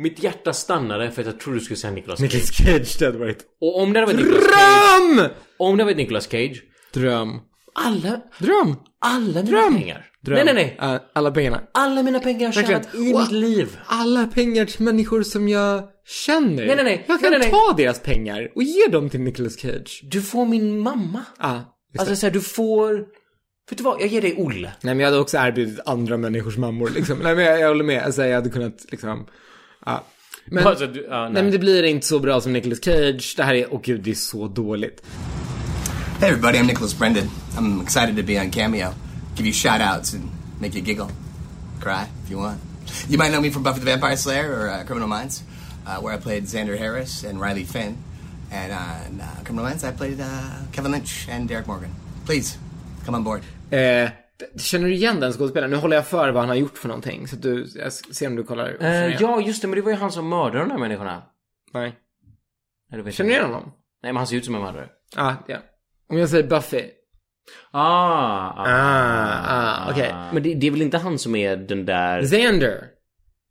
Speaker 5: Mitt hjärta stannade för att jag trodde du skulle säga Nicolas Cage.
Speaker 4: Nicolas Cage, det hade varit...
Speaker 5: Och om det hade varit Nicolas Cage...
Speaker 4: Dröm!
Speaker 5: Om det hade varit Nicolas Cage...
Speaker 4: Dröm.
Speaker 5: Alla...
Speaker 4: Dröm!
Speaker 5: Alla mina
Speaker 4: Dröm.
Speaker 5: pengar. Nej, nej, nej.
Speaker 4: Eh, alla pengarna.
Speaker 5: Alla mina pengar jag har
Speaker 4: Verkligen.
Speaker 5: tjänat i
Speaker 4: Och-
Speaker 5: mitt liv.
Speaker 4: Alla pengar till människor som jag känner.
Speaker 5: Nej, nej, nej.
Speaker 4: Jag kan
Speaker 5: Nej, nej, nej.
Speaker 4: ta deras pengar och ge dem till Nicolas Cage.
Speaker 5: Du får min mamma.
Speaker 4: Ah,
Speaker 5: Alltså såhär, du får Vet du vad, jag ger dig Olle.
Speaker 4: Nej men jag hade också erbjudit andra människors mammor liksom. Nej men jag, jag håller med. Alltså jag hade kunnat liksom, ja. Men,
Speaker 5: Alltså, du- ja, nej.
Speaker 4: nej. men det blir inte så bra som Nicolas Cage. Det här är, åh gud det är så dåligt.
Speaker 11: Hey everybody, I'm Nicholas Brendan. I'm excited to be on Cameo. Give you shout outs and make you giggle. Cry if you want. You might know me from Buffy the Vampire Slayer or uh, Criminal Minds, uh, where I played Xander Harris and Riley Finn. And on uh, Criminal Minds, I played uh, Kevin Lynch and Derek Morgan. Please, come on board.
Speaker 4: Eh, känner du igen den skådespelaren? Nu håller jag för vad han har gjort för någonting. Så att du, jag ser om du kollar.
Speaker 5: Eh, ja, just det, men det var ju han som mördade de där människorna.
Speaker 4: Nej.
Speaker 5: Eller vet
Speaker 4: Känner du
Speaker 5: jag.
Speaker 4: igen honom?
Speaker 5: Nej, men han ser ut som en mördare.
Speaker 4: Ja, ja. Om jag säger Buffy.
Speaker 5: Ah,
Speaker 4: Ah, ah, okej.
Speaker 5: Men det, det är väl inte han som är den där...
Speaker 4: Xander.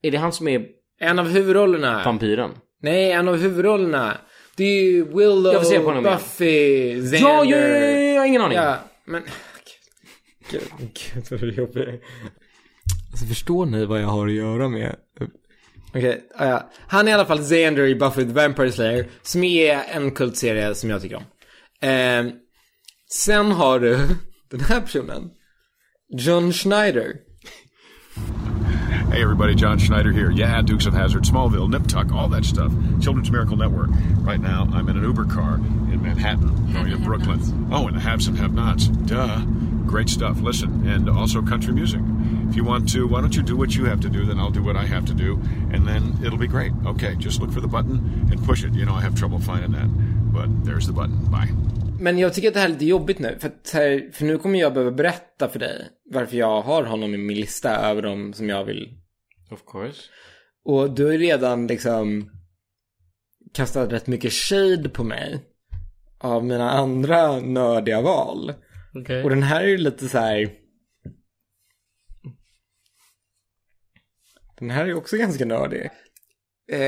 Speaker 5: Är det han som är
Speaker 4: En av huvudrollerna.
Speaker 5: vampyren?
Speaker 4: Nej, en av huvudrollerna. Det är ju Willow,
Speaker 5: Jag får se på honom igen.
Speaker 4: Buffy, Xander.
Speaker 5: Ja, ja, ja, ja, jag har ingen aning.
Speaker 4: Ja, men... Gud, gud vad du är jobbig. Alltså förstår ni vad jag har att göra med? Okej, ja, ja. Han är i alla fall Xander i Buffy the Vampire Slayer, som är en kultserie som jag tycker om. Eh, sen har du den här personen. John Schneider.
Speaker 10: Hey everybody, John Schneider here. Yeah, Dukes of Hazard, Smallville, Nip Tuck, all that stuff. Children's Miracle Network. Right now, I'm in an Uber car in Manhattan, going to Brooklyn. Oh, and the haves and have-nots. Duh. Great stuff. Listen, and also country music. If you want to, why don't you do what you have to do? Then I'll do what I have to do, and then it'll be great. Okay, just look for the button and push it. You know, I have trouble finding that, but there's the button. Bye.
Speaker 4: Men jag tycker att det här är lite jobbigt nu, för, att här, för nu kommer jag behöva berätta för dig varför jag har honom i min lista över de som jag vill
Speaker 5: Of course.
Speaker 4: Och du har ju redan liksom kastat rätt mycket shade på mig av mina andra nördiga val.
Speaker 5: Okej.
Speaker 4: Och den här är ju lite så här. Den här är ju också ganska nördig. Eh,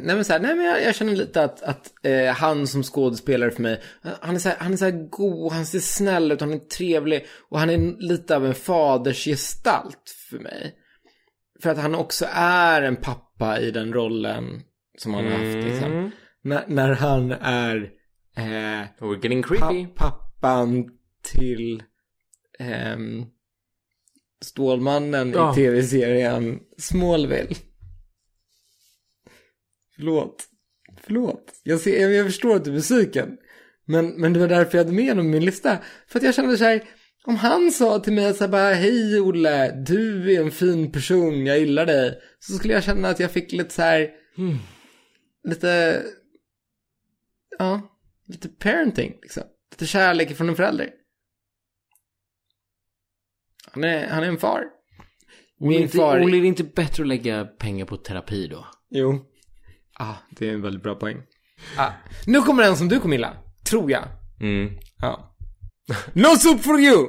Speaker 4: nej men så här, nej men jag, jag känner lite att, att eh, han som skådespelare för mig, han är så här, han är så här god, han ser snäll ut, han är trevlig och han är lite av en fadersgestalt för mig. För att han också är en pappa i den rollen som han har haft.
Speaker 5: Mm.
Speaker 4: Liksom. När, när han är eh,
Speaker 5: We're getting creepy.
Speaker 4: pa- pappan till ehm, Stålmannen
Speaker 5: Ja.
Speaker 4: i tv-serien Smallville. Förlåt. Förlåt. Jag, ser, jag förstår att du är besviken. Men, men det var därför jag hade med honom i min lista. För att jag kände så här. Om han sa till mig så här bara, hej Olle, du är en fin person, jag gillar dig. Så skulle jag känna att jag fick lite så här, lite, ja, lite parenting liksom. Lite kärlek från en förälder. Han är, han är en far.
Speaker 5: Olle, är
Speaker 4: Min
Speaker 5: inte-
Speaker 4: far.
Speaker 5: Olle, är det inte bättre att lägga pengar på terapi då?
Speaker 4: Jo. Ah, det är en väldigt bra poäng. Ah, nu kommer en som du kommer gilla. Tror jag.
Speaker 5: Mm.
Speaker 4: Ja. No soup for you!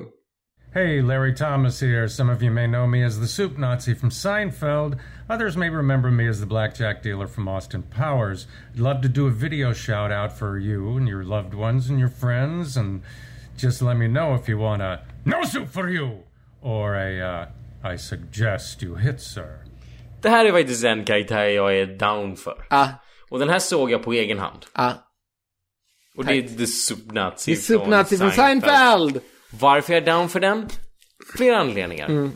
Speaker 12: Hey, Larry Thomas here. Some of you may know me as the soup Nazi from Seinfeld. Others may remember me as the blackjack dealer from Austin Powers. I'd love to do a video shout out for you and your loved ones and your friends, and just let me know if you want a no soup for you or a uh, I suggest you hit, sir.
Speaker 5: Det här är faktiskt en karaktär jag är down för.
Speaker 4: Ah.
Speaker 5: Och den här såg jag på egen hand.
Speaker 4: Ah.
Speaker 5: Och det är The Supnazi
Speaker 4: Det är soup Nazi från Seinfeld!
Speaker 5: Varför jag är down för den? Flera anledningar.
Speaker 4: Mm.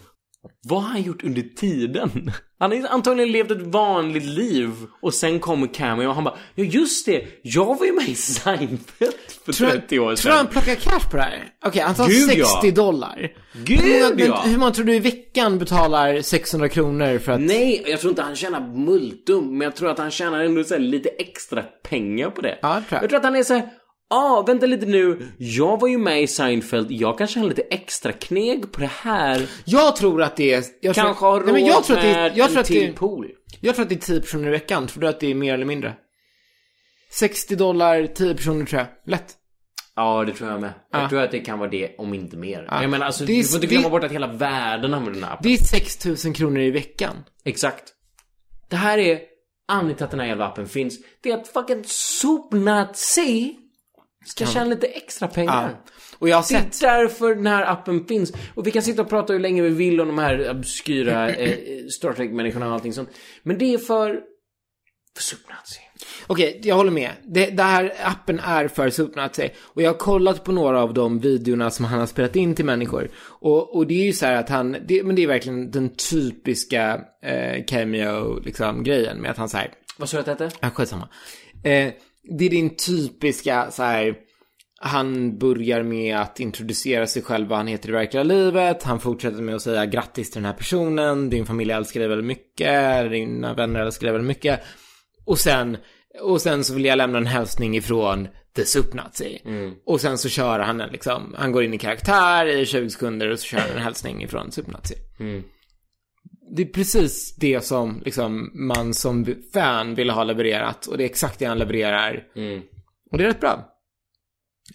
Speaker 5: Vad har han gjort under tiden? Han har antagligen levt ett vanligt liv och sen kommer Cameo och han bara Ja just det, jag var ju med i Seinfeld för 30 år sedan.
Speaker 4: Tror du han plockar cash på det här? Okej, han tar
Speaker 5: Gud,
Speaker 4: 60
Speaker 5: ja.
Speaker 4: dollar.
Speaker 5: Gud,
Speaker 4: hur, många-
Speaker 5: ja.
Speaker 4: hur många tror du i veckan betalar 600 kronor för att...
Speaker 5: Nej, jag tror inte han tjänar multum, men jag tror att han tjänar ändå så här lite extra pengar på det.
Speaker 4: Ja, tror jag.
Speaker 5: jag tror att han är så här, ah, vänta lite nu, jag var ju med i Seinfeld, jag kan tjäna lite extra kneg på det här.
Speaker 4: Jag tror att det är... Jag tror-
Speaker 5: Kanske har råd
Speaker 4: Nej, men jag tror att det är-
Speaker 5: med
Speaker 4: jag tror
Speaker 5: en
Speaker 4: att
Speaker 5: till
Speaker 4: det är-
Speaker 5: pool.
Speaker 4: Jag tror att det är 10 personer i veckan. Tror du att det är mer eller mindre? 60 dollar, 10 personer tror jag. Lätt.
Speaker 5: Ja, det tror jag med. Jag
Speaker 4: Ja.
Speaker 5: tror att det kan vara det, om inte mer.
Speaker 4: Ja.
Speaker 5: Jag menar alltså,
Speaker 4: Det är-
Speaker 5: du får inte glömma
Speaker 4: det-
Speaker 5: bort att hela världen använder den här appen.
Speaker 4: Det är 6 000 kronor i veckan.
Speaker 5: Exakt. Det här är anledningen till att den här jävla appen finns. Det är att fucking sopnazi ska tjäna lite extra pengar.
Speaker 4: Ja. Och jag har sett...
Speaker 5: Det är därför den här appen finns. Och vi kan sitta och prata hur länge vi vill om de här obskyra eh, Star Trek-människorna och allting sånt. Men det är för... För Supernazi.
Speaker 4: Okej, jag håller med. Det, det här appen är för supnazi. Och jag har kollat på några av de videorna som han har spelat in till människor. Och, och det är ju så här att han, det, men det är verkligen den typiska eh, cameo-grejen liksom, grejen med att han så här.
Speaker 5: Vad sa du att det hette?
Speaker 4: Ja, skitsamma. Eh, det är din typiska så här. Han börjar med att introducera sig själv, vad han heter i verkliga livet. Han fortsätter med att säga grattis till den här personen. Din familj älskar dig väldigt mycket. Dina vänner älskar dig väldigt mycket. Och sen, och sen så vill jag lämna en hälsning ifrån The Supnazi.
Speaker 5: Mm.
Speaker 4: Och sen så kör han den liksom. Han går in i karaktär i 20 sekunder och så kör han en hälsning ifrån Supnazi.
Speaker 5: Mm.
Speaker 4: Det är precis det som liksom, man som fan ville ha levererat. Och det är exakt det han levererar.
Speaker 5: Mm.
Speaker 4: Och det är rätt bra.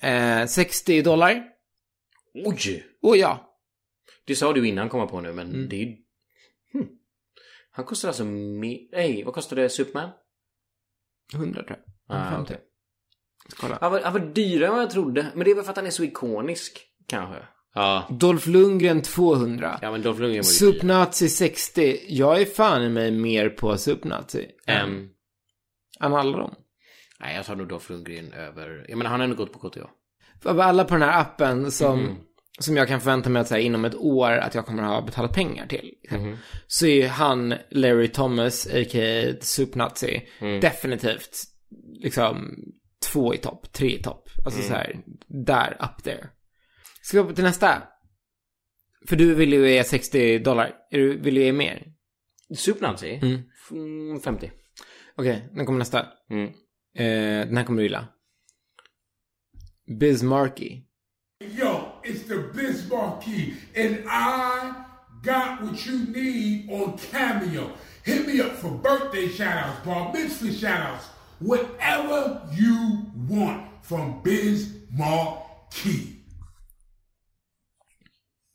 Speaker 4: Eh, 60 dollar.
Speaker 5: Oj!
Speaker 4: Åh ja.
Speaker 5: Det sa du innan komma på nu, men
Speaker 4: Mm.
Speaker 5: det är ju... Hmm. Han kostar alltså mer... Nej, vad kostade Superman?
Speaker 4: 100 tror jag.
Speaker 5: Ah,
Speaker 4: 150. Kolla.
Speaker 5: Han var, han var dyrare än vad jag trodde. Men det är väl för att han är så ikonisk, kanske. Ja.
Speaker 4: Dolph Lundgren 200.
Speaker 5: Ja, men Dolph Lundgren var ju dyr.
Speaker 4: Supnazi 60. Jag är fan i mig mer på Supnazi.
Speaker 5: Ehm,
Speaker 4: Än alla dem.
Speaker 5: nej, jag tar nog Dolph Lundgren över... Jag menar, han har ändå gått på KTH.
Speaker 4: Av alla på den här appen som,
Speaker 5: Mm-hmm.
Speaker 4: som jag kan förvänta mig att så här, inom ett år att jag kommer att ha betalat pengar till.
Speaker 5: Mm-hmm.
Speaker 4: Så är ju han, Larry Thomas, a.k.a. Supnazi,
Speaker 5: Mm.
Speaker 4: definitivt liksom två i topp, tre i topp. Alltså
Speaker 5: Mm.
Speaker 4: så här, där, up there. Ska vi hoppa till nästa? För du vill ju ge 60 dollar. Är du- Vill du ge mer?
Speaker 5: Supernancy?
Speaker 4: Mm.
Speaker 5: Mm. 50.
Speaker 4: Okej, nu kommer nästa.
Speaker 5: Mm.
Speaker 4: Eh, den här kommer du gilla. Bismarcky.
Speaker 13: Yo, it's the Bismarck Key, and I got what you need on Cameo. Hit me up for birthday shoutouts, bar mitzvah shoutouts, whatever you want from Bismarck Key.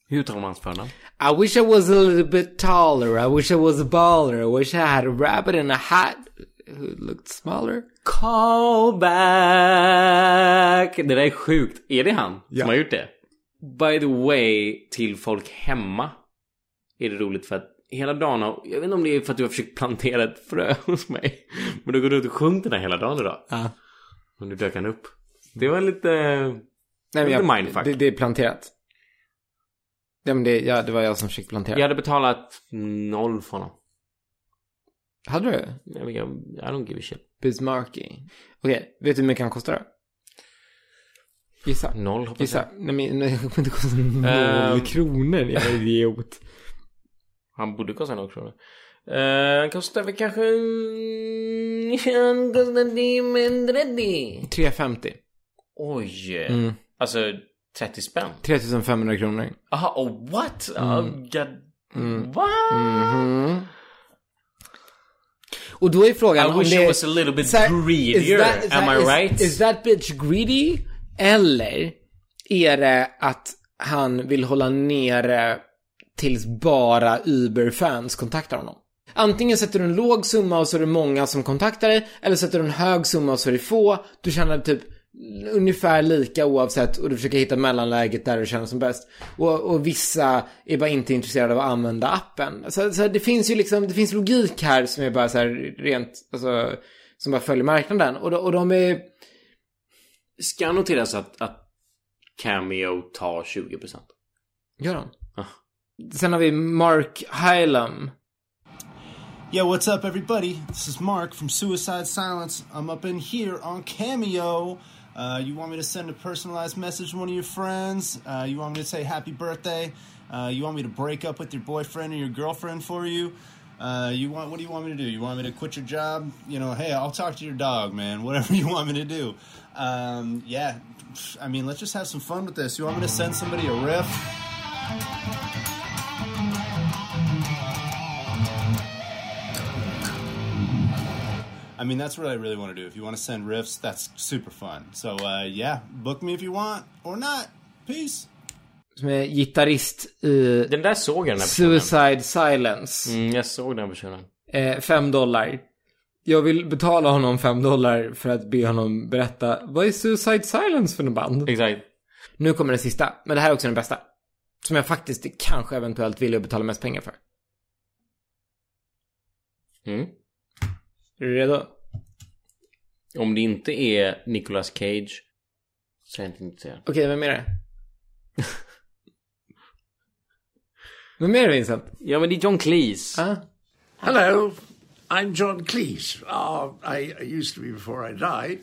Speaker 5: Hur uttalar man hans förnamn?
Speaker 4: I wish I was a little bit taller. I wish I was a baller. I wish I had a rabbit in a hat who looked smaller.
Speaker 5: Callback! Det där är sjukt. Är det han som har gjort det? By the way, till folk hemma är det roligt för att hela dagen har, Jag vet inte om det är för att du har försökt plantera ett frö hos mig. Men du går runt och sjung den här hela dagen idag.
Speaker 4: Ja.
Speaker 5: Och nu dök han upp. Det var lite... Nej, lite mindfuck.
Speaker 4: det, det är planterat. Ja, men det, ja, det var jag som försökte plantera.
Speaker 5: Jag hade betalat noll för honom.
Speaker 4: Hade du?
Speaker 5: Nej, men jag, I don't give a shit.
Speaker 4: Bismarcky. Okej, vet du hur mycket han kostar då? Gissa.
Speaker 5: Noll hoppas
Speaker 4: Gissa.
Speaker 5: jag.
Speaker 4: Nej, men nej, det kommer inte kosta noll
Speaker 5: Ehm.
Speaker 4: kronor. Jag är idiot.
Speaker 5: Han borde kosta några kronor. Eh, Han kostar väl kanske... Han kostar det men 30.
Speaker 4: 350.
Speaker 5: Oj.
Speaker 4: Mm.
Speaker 5: Alltså 30 spänn.
Speaker 4: 3500 kronor.
Speaker 5: Aha, oh what? Oh,
Speaker 4: Mm.
Speaker 5: God.
Speaker 4: Mm.
Speaker 5: What? Mm-hmm.
Speaker 4: Mhm. Och då är frågan
Speaker 5: I wish
Speaker 4: om det
Speaker 5: I was a little bit
Speaker 4: Så här,
Speaker 5: greedier.
Speaker 4: is that- is
Speaker 5: Am
Speaker 4: that-
Speaker 5: I
Speaker 4: is-
Speaker 5: right?
Speaker 4: Is that bitch greedy? Eller är det att han vill hålla nere tills bara Uber-fans kontaktar honom? Antingen sätter du en låg summa och så är det många som kontaktar dig, eller sätter du en hög summa och så är det få. Du tjänar typ ungefär lika oavsett och du försöker hitta mellanläget där du känner som bäst. Och, och vissa är bara inte intresserade av att använda appen. Så, så det finns ju liksom, det finns logik här som är bara så här rent, alltså, som bara följer marknaden. Och, de- och de är...
Speaker 5: Ska noteras att, att Cameo tar 20%.
Speaker 4: Gör de?
Speaker 5: Ah.
Speaker 4: Sen har vi Mark Hylam.
Speaker 10: Yo, what's up, everybody? This is Mark from Suicide Silence. I'm up in here on Cameo. Uh, you want me to send a personalized message to one of your friends? Uh, you want me to say happy birthday? Uh, you want me to break up with your boyfriend or your girlfriend for you? Uh, you want? What do you want me to do? You want me to quit your job? You know, hey, I'll talk to your dog, man. Whatever you want me to do. Um, yeah, pff, I mean, let's just have some fun with this. You want me to send somebody a riff? I mean, that's what I really want to do. If you want to send riffs, that's super fun. So, uh, yeah, book me if you want or not. Peace.
Speaker 4: Som är gitarrist i...
Speaker 5: Den där såg jag den här personen.
Speaker 4: Suicide Silence.
Speaker 5: Mm, jag såg den här personen.
Speaker 4: Eh, fem dollar. Jag vill betala honom fem dollar för att be honom berätta vad är Suicide Silence för en band?
Speaker 5: Exakt.
Speaker 4: Nu kommer den sista, men det här är också den bästa. Som jag faktiskt kanske eventuellt vill betala mest pengar för.
Speaker 5: Mm.
Speaker 4: Är du redo?
Speaker 5: Om det inte är Nicolas Cage så är jag inte intresserad.
Speaker 4: Okej, vem är det? vem är det Vincent? Ah.
Speaker 5: Ja men det är John Cleese.
Speaker 13: Hello, I'm John Cleese. Ah, I I used to be before I died.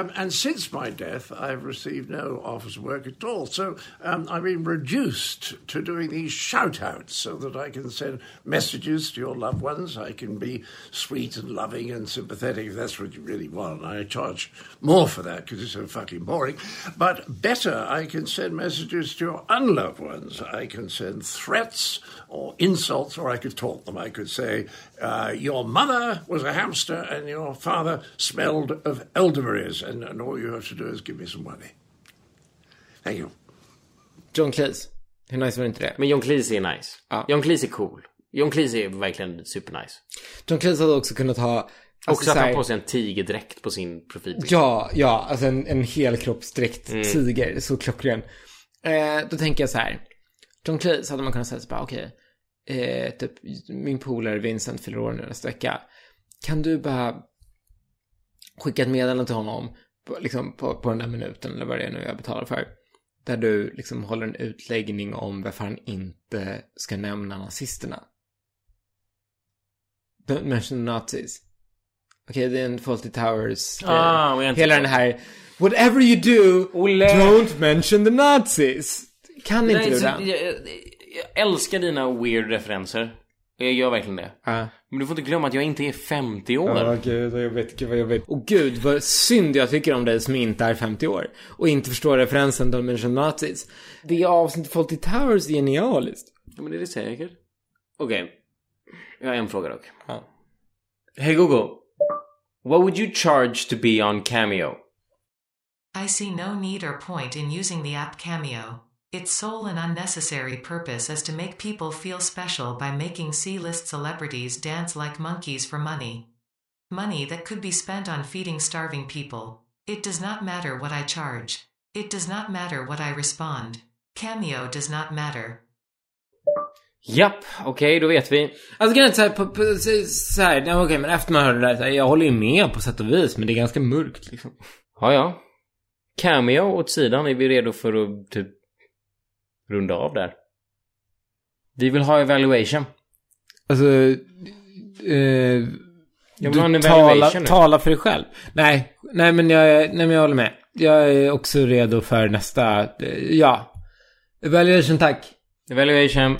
Speaker 13: Um, and since my death, I've received no office work at all. So um, I've been reduced to doing these shout outs so that I can send messages to your loved ones. I can be sweet and loving and sympathetic if that's what you really want. I charge more for that because it's so fucking boring. But better, I can send messages to your unloved ones. I can send threats or insults, or I could taunt them. I could say, uh, Your mother was a hamster and your father smelled of elderberries, and, and all you have to do is give me some money. Thank you.
Speaker 4: John Cleese. Hur nice var inte det?
Speaker 5: Men John Cleese är nice. John Cleese är cool. John Cleese är verkligen supernice.
Speaker 4: John Cleese hade också kunnat ha... alltså,
Speaker 5: Också att
Speaker 4: så här-
Speaker 5: han på sig en tigerdräkt på sin profilbild.
Speaker 4: Ja, ja, alltså en, en helkroppsdräkt
Speaker 5: Mm.
Speaker 4: tiger, så klockren. Eh, då tänker jag så här. John Cleese hade man kunnat säga så bara, okej, eh, typ, min polare Vincent fyller år nu nästa vecka. Kan du bara skicka ett meddelande till honom, på, liksom på, på den där minuten eller vad det är nu jag betalar för. Där du liksom håller en utläggning om varför han inte ska nämna nazisterna. Don't mention Nazis. Okej, det är en Fawlty Towers eh,
Speaker 5: Ah, men jag inte-
Speaker 4: Hela den här Whatever you do, don't mention the Nazis. Kan inte
Speaker 5: Nej,
Speaker 4: du
Speaker 5: så-
Speaker 4: den?
Speaker 5: jag, jag, jag älskar dina weird referenser. Jag gör verkligen det.
Speaker 4: Ja.
Speaker 5: Men du får inte glömma att jag inte är 50 år.
Speaker 4: Ja, gud vad jobbigt, gud vad jobbigt. Och gud vad synd jag tycker om dig som inte är 50 år. Och inte förstår referensen Don't mention Nazis. Det avsnittet Fawlty Towers är genialiskt.
Speaker 5: Ja, men det är det säkert. Okej. Jag har en fråga dock. Hey Google. What would you charge to be on Cameo?
Speaker 14: I see no need or point in using the app Cameo. Its sole and unnecessary purpose is to make people feel special by making C list celebrities dance like monkeys for money. Money that could be spent on feeding starving people. It does not matter what I charge. It does not matter what I respond. Cameo does not matter.
Speaker 5: Japp, okej då vet vi.
Speaker 4: Alltså grejen är så här, på, på, så- så här nej, okej men efter man hörde det där, så här, jag håller ju med på sätt och vis men det är ganska mörkt liksom.
Speaker 5: Ja, ja. Cameo åt sidan, är vi redo för att typ runda av där? Vi vill ha evaluation.
Speaker 4: Alltså, eh,
Speaker 5: Jag vill
Speaker 4: du
Speaker 5: ha en
Speaker 4: tala,
Speaker 5: evaluation nu.
Speaker 4: tala för dig själv. Nej, nej men jag, nej men jag håller med. Jag är också redo för nästa, eh, ja. Evaluation tack.
Speaker 5: Evaluation.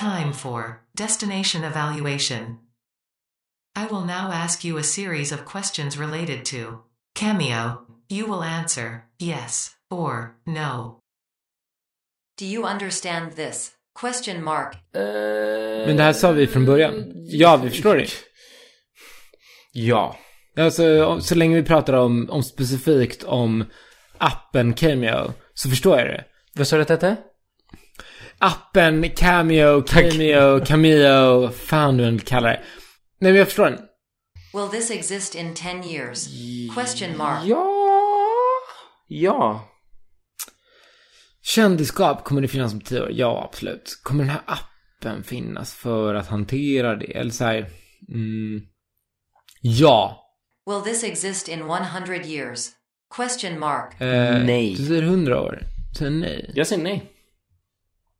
Speaker 14: Time for Destination Evaluation. I will now ask you a series of questions related to Cameo. You will answer yes or no.
Speaker 15: Do you understand this? Question mark.
Speaker 4: Men det här sa vi från
Speaker 5: Eh,
Speaker 4: början. Ja, vi förstår det.
Speaker 5: Ja.
Speaker 4: Alltså, om- så länge vi pratar om, om specifikt om appen Cameo så förstår jag det.
Speaker 5: Vad sa du att det hette?
Speaker 4: Appen Cameo, Cameo, Cameo, fan du än kallar det. Nej men jag förstår den.
Speaker 15: Will this exist in 10 years? Question mark.
Speaker 5: Ja.
Speaker 4: Kändisskap, kommer det finnas om tio år? Ja, absolut. Kommer den här appen finnas för att hantera det? Eller så här, mm, Ja.
Speaker 15: Will this exist in 100 years? Question mark.
Speaker 4: Eh,
Speaker 5: Nej.
Speaker 4: Du säger hundra år. Du säger nej.
Speaker 5: Jag säger nej.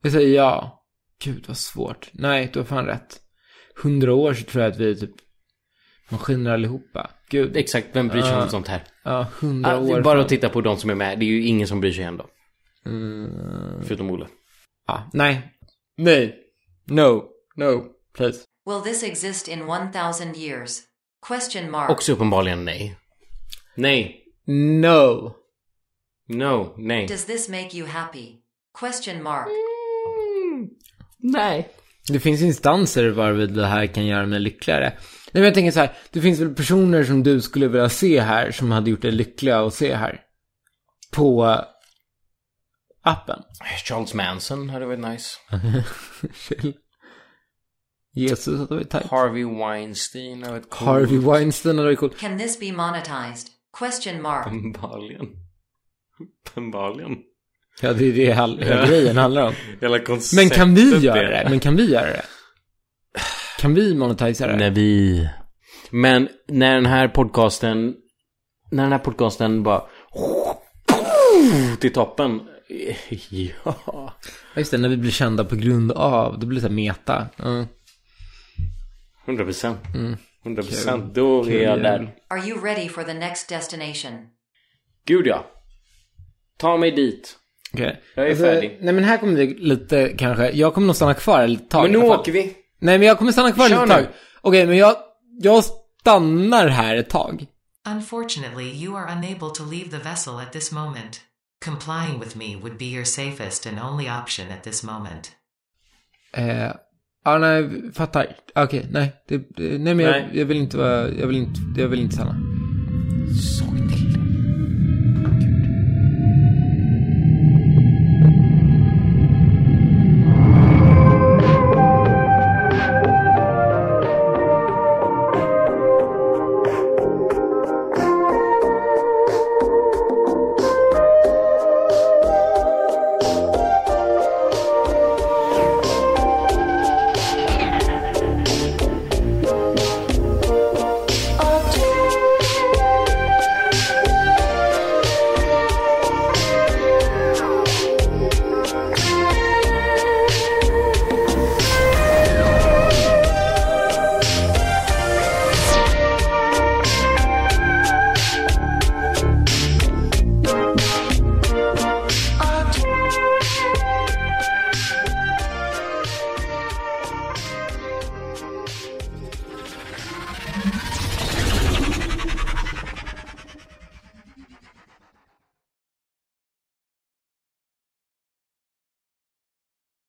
Speaker 4: Jag säger ja. Gud vad svårt. Nej, du har fan rätt. Hundra år så tror jag att vi är typ maskiner allihopa. Gud.
Speaker 5: Exakt, vem bryr sig
Speaker 4: Ja.
Speaker 5: om sånt här?
Speaker 4: Ja, hundra
Speaker 5: Ah, det är
Speaker 4: Ah. år.
Speaker 5: Bara
Speaker 4: fan.
Speaker 5: att titta på de som är med. Det är ju ingen som bryr sig ändå.
Speaker 4: Mm.
Speaker 5: Förutom Olle.
Speaker 4: Ja, nej. Nej. No. No. Please.
Speaker 15: Will this exist in 1000 years? Question mark.
Speaker 5: Också uppenbarligen nej. Nej.
Speaker 4: No.
Speaker 5: No, nej.
Speaker 15: Does this make you happy? Question mark.
Speaker 5: Nej.
Speaker 4: Det finns instanser varvid det här kan göra mig lyckligare. Nej men jag tänker så här, det finns väl personer som du skulle vilja se här som hade gjort dig lycklig att se här? På appen.
Speaker 5: Charles Manson hade varit nice.
Speaker 4: Chill. Jesus hade varit tight.
Speaker 5: Harvey Weinstein hade varit cool.
Speaker 4: Harvey Weinstein hade varit cool.
Speaker 15: Can this be monetized? Question mark.
Speaker 5: Uppenbarligen. Uppenbarligen.
Speaker 4: Ja, det är det hela
Speaker 5: Ja.
Speaker 4: hela grejen handlar om.
Speaker 5: Hela konceptet
Speaker 4: Men kan vi göra
Speaker 5: är-
Speaker 4: det? Men kan vi göra det? Kan vi monetisera det?
Speaker 5: När vi
Speaker 4: Men när den här podcasten... När den här podcasten bara... Till toppen. Ja.
Speaker 5: Ja, just det, när vi blir kända på grund av, då blir det så här meta. Mm.
Speaker 4: 100 procent.
Speaker 5: Mm.
Speaker 4: 100 procent. Då är jag där.
Speaker 16: Are you ready for the next destination?
Speaker 4: Gud ja. Ta mig dit.
Speaker 5: Okej.
Speaker 4: Jag är färdig.
Speaker 5: Alltså, Nej men här kommer vi lite kanske, jag kommer nog stanna kvar ett tag.
Speaker 4: Men nu
Speaker 5: i alla fall.
Speaker 4: åker vi.
Speaker 5: Nej men jag kommer stanna kvar
Speaker 4: Kör
Speaker 5: ett tag.
Speaker 4: nu.
Speaker 5: Okej, men jag, jag stannar här ett tag.
Speaker 14: Unfortunately, you are unable to leave the vessel at this moment. Complying with me would be your safest and only option at this moment.
Speaker 5: Eh, ja, nej, fattar. Okej, nej. Det, det, nej men
Speaker 4: Nej.
Speaker 5: Jag, jag vill inte vara, jag vill inte, jag vill inte stanna.
Speaker 4: Sån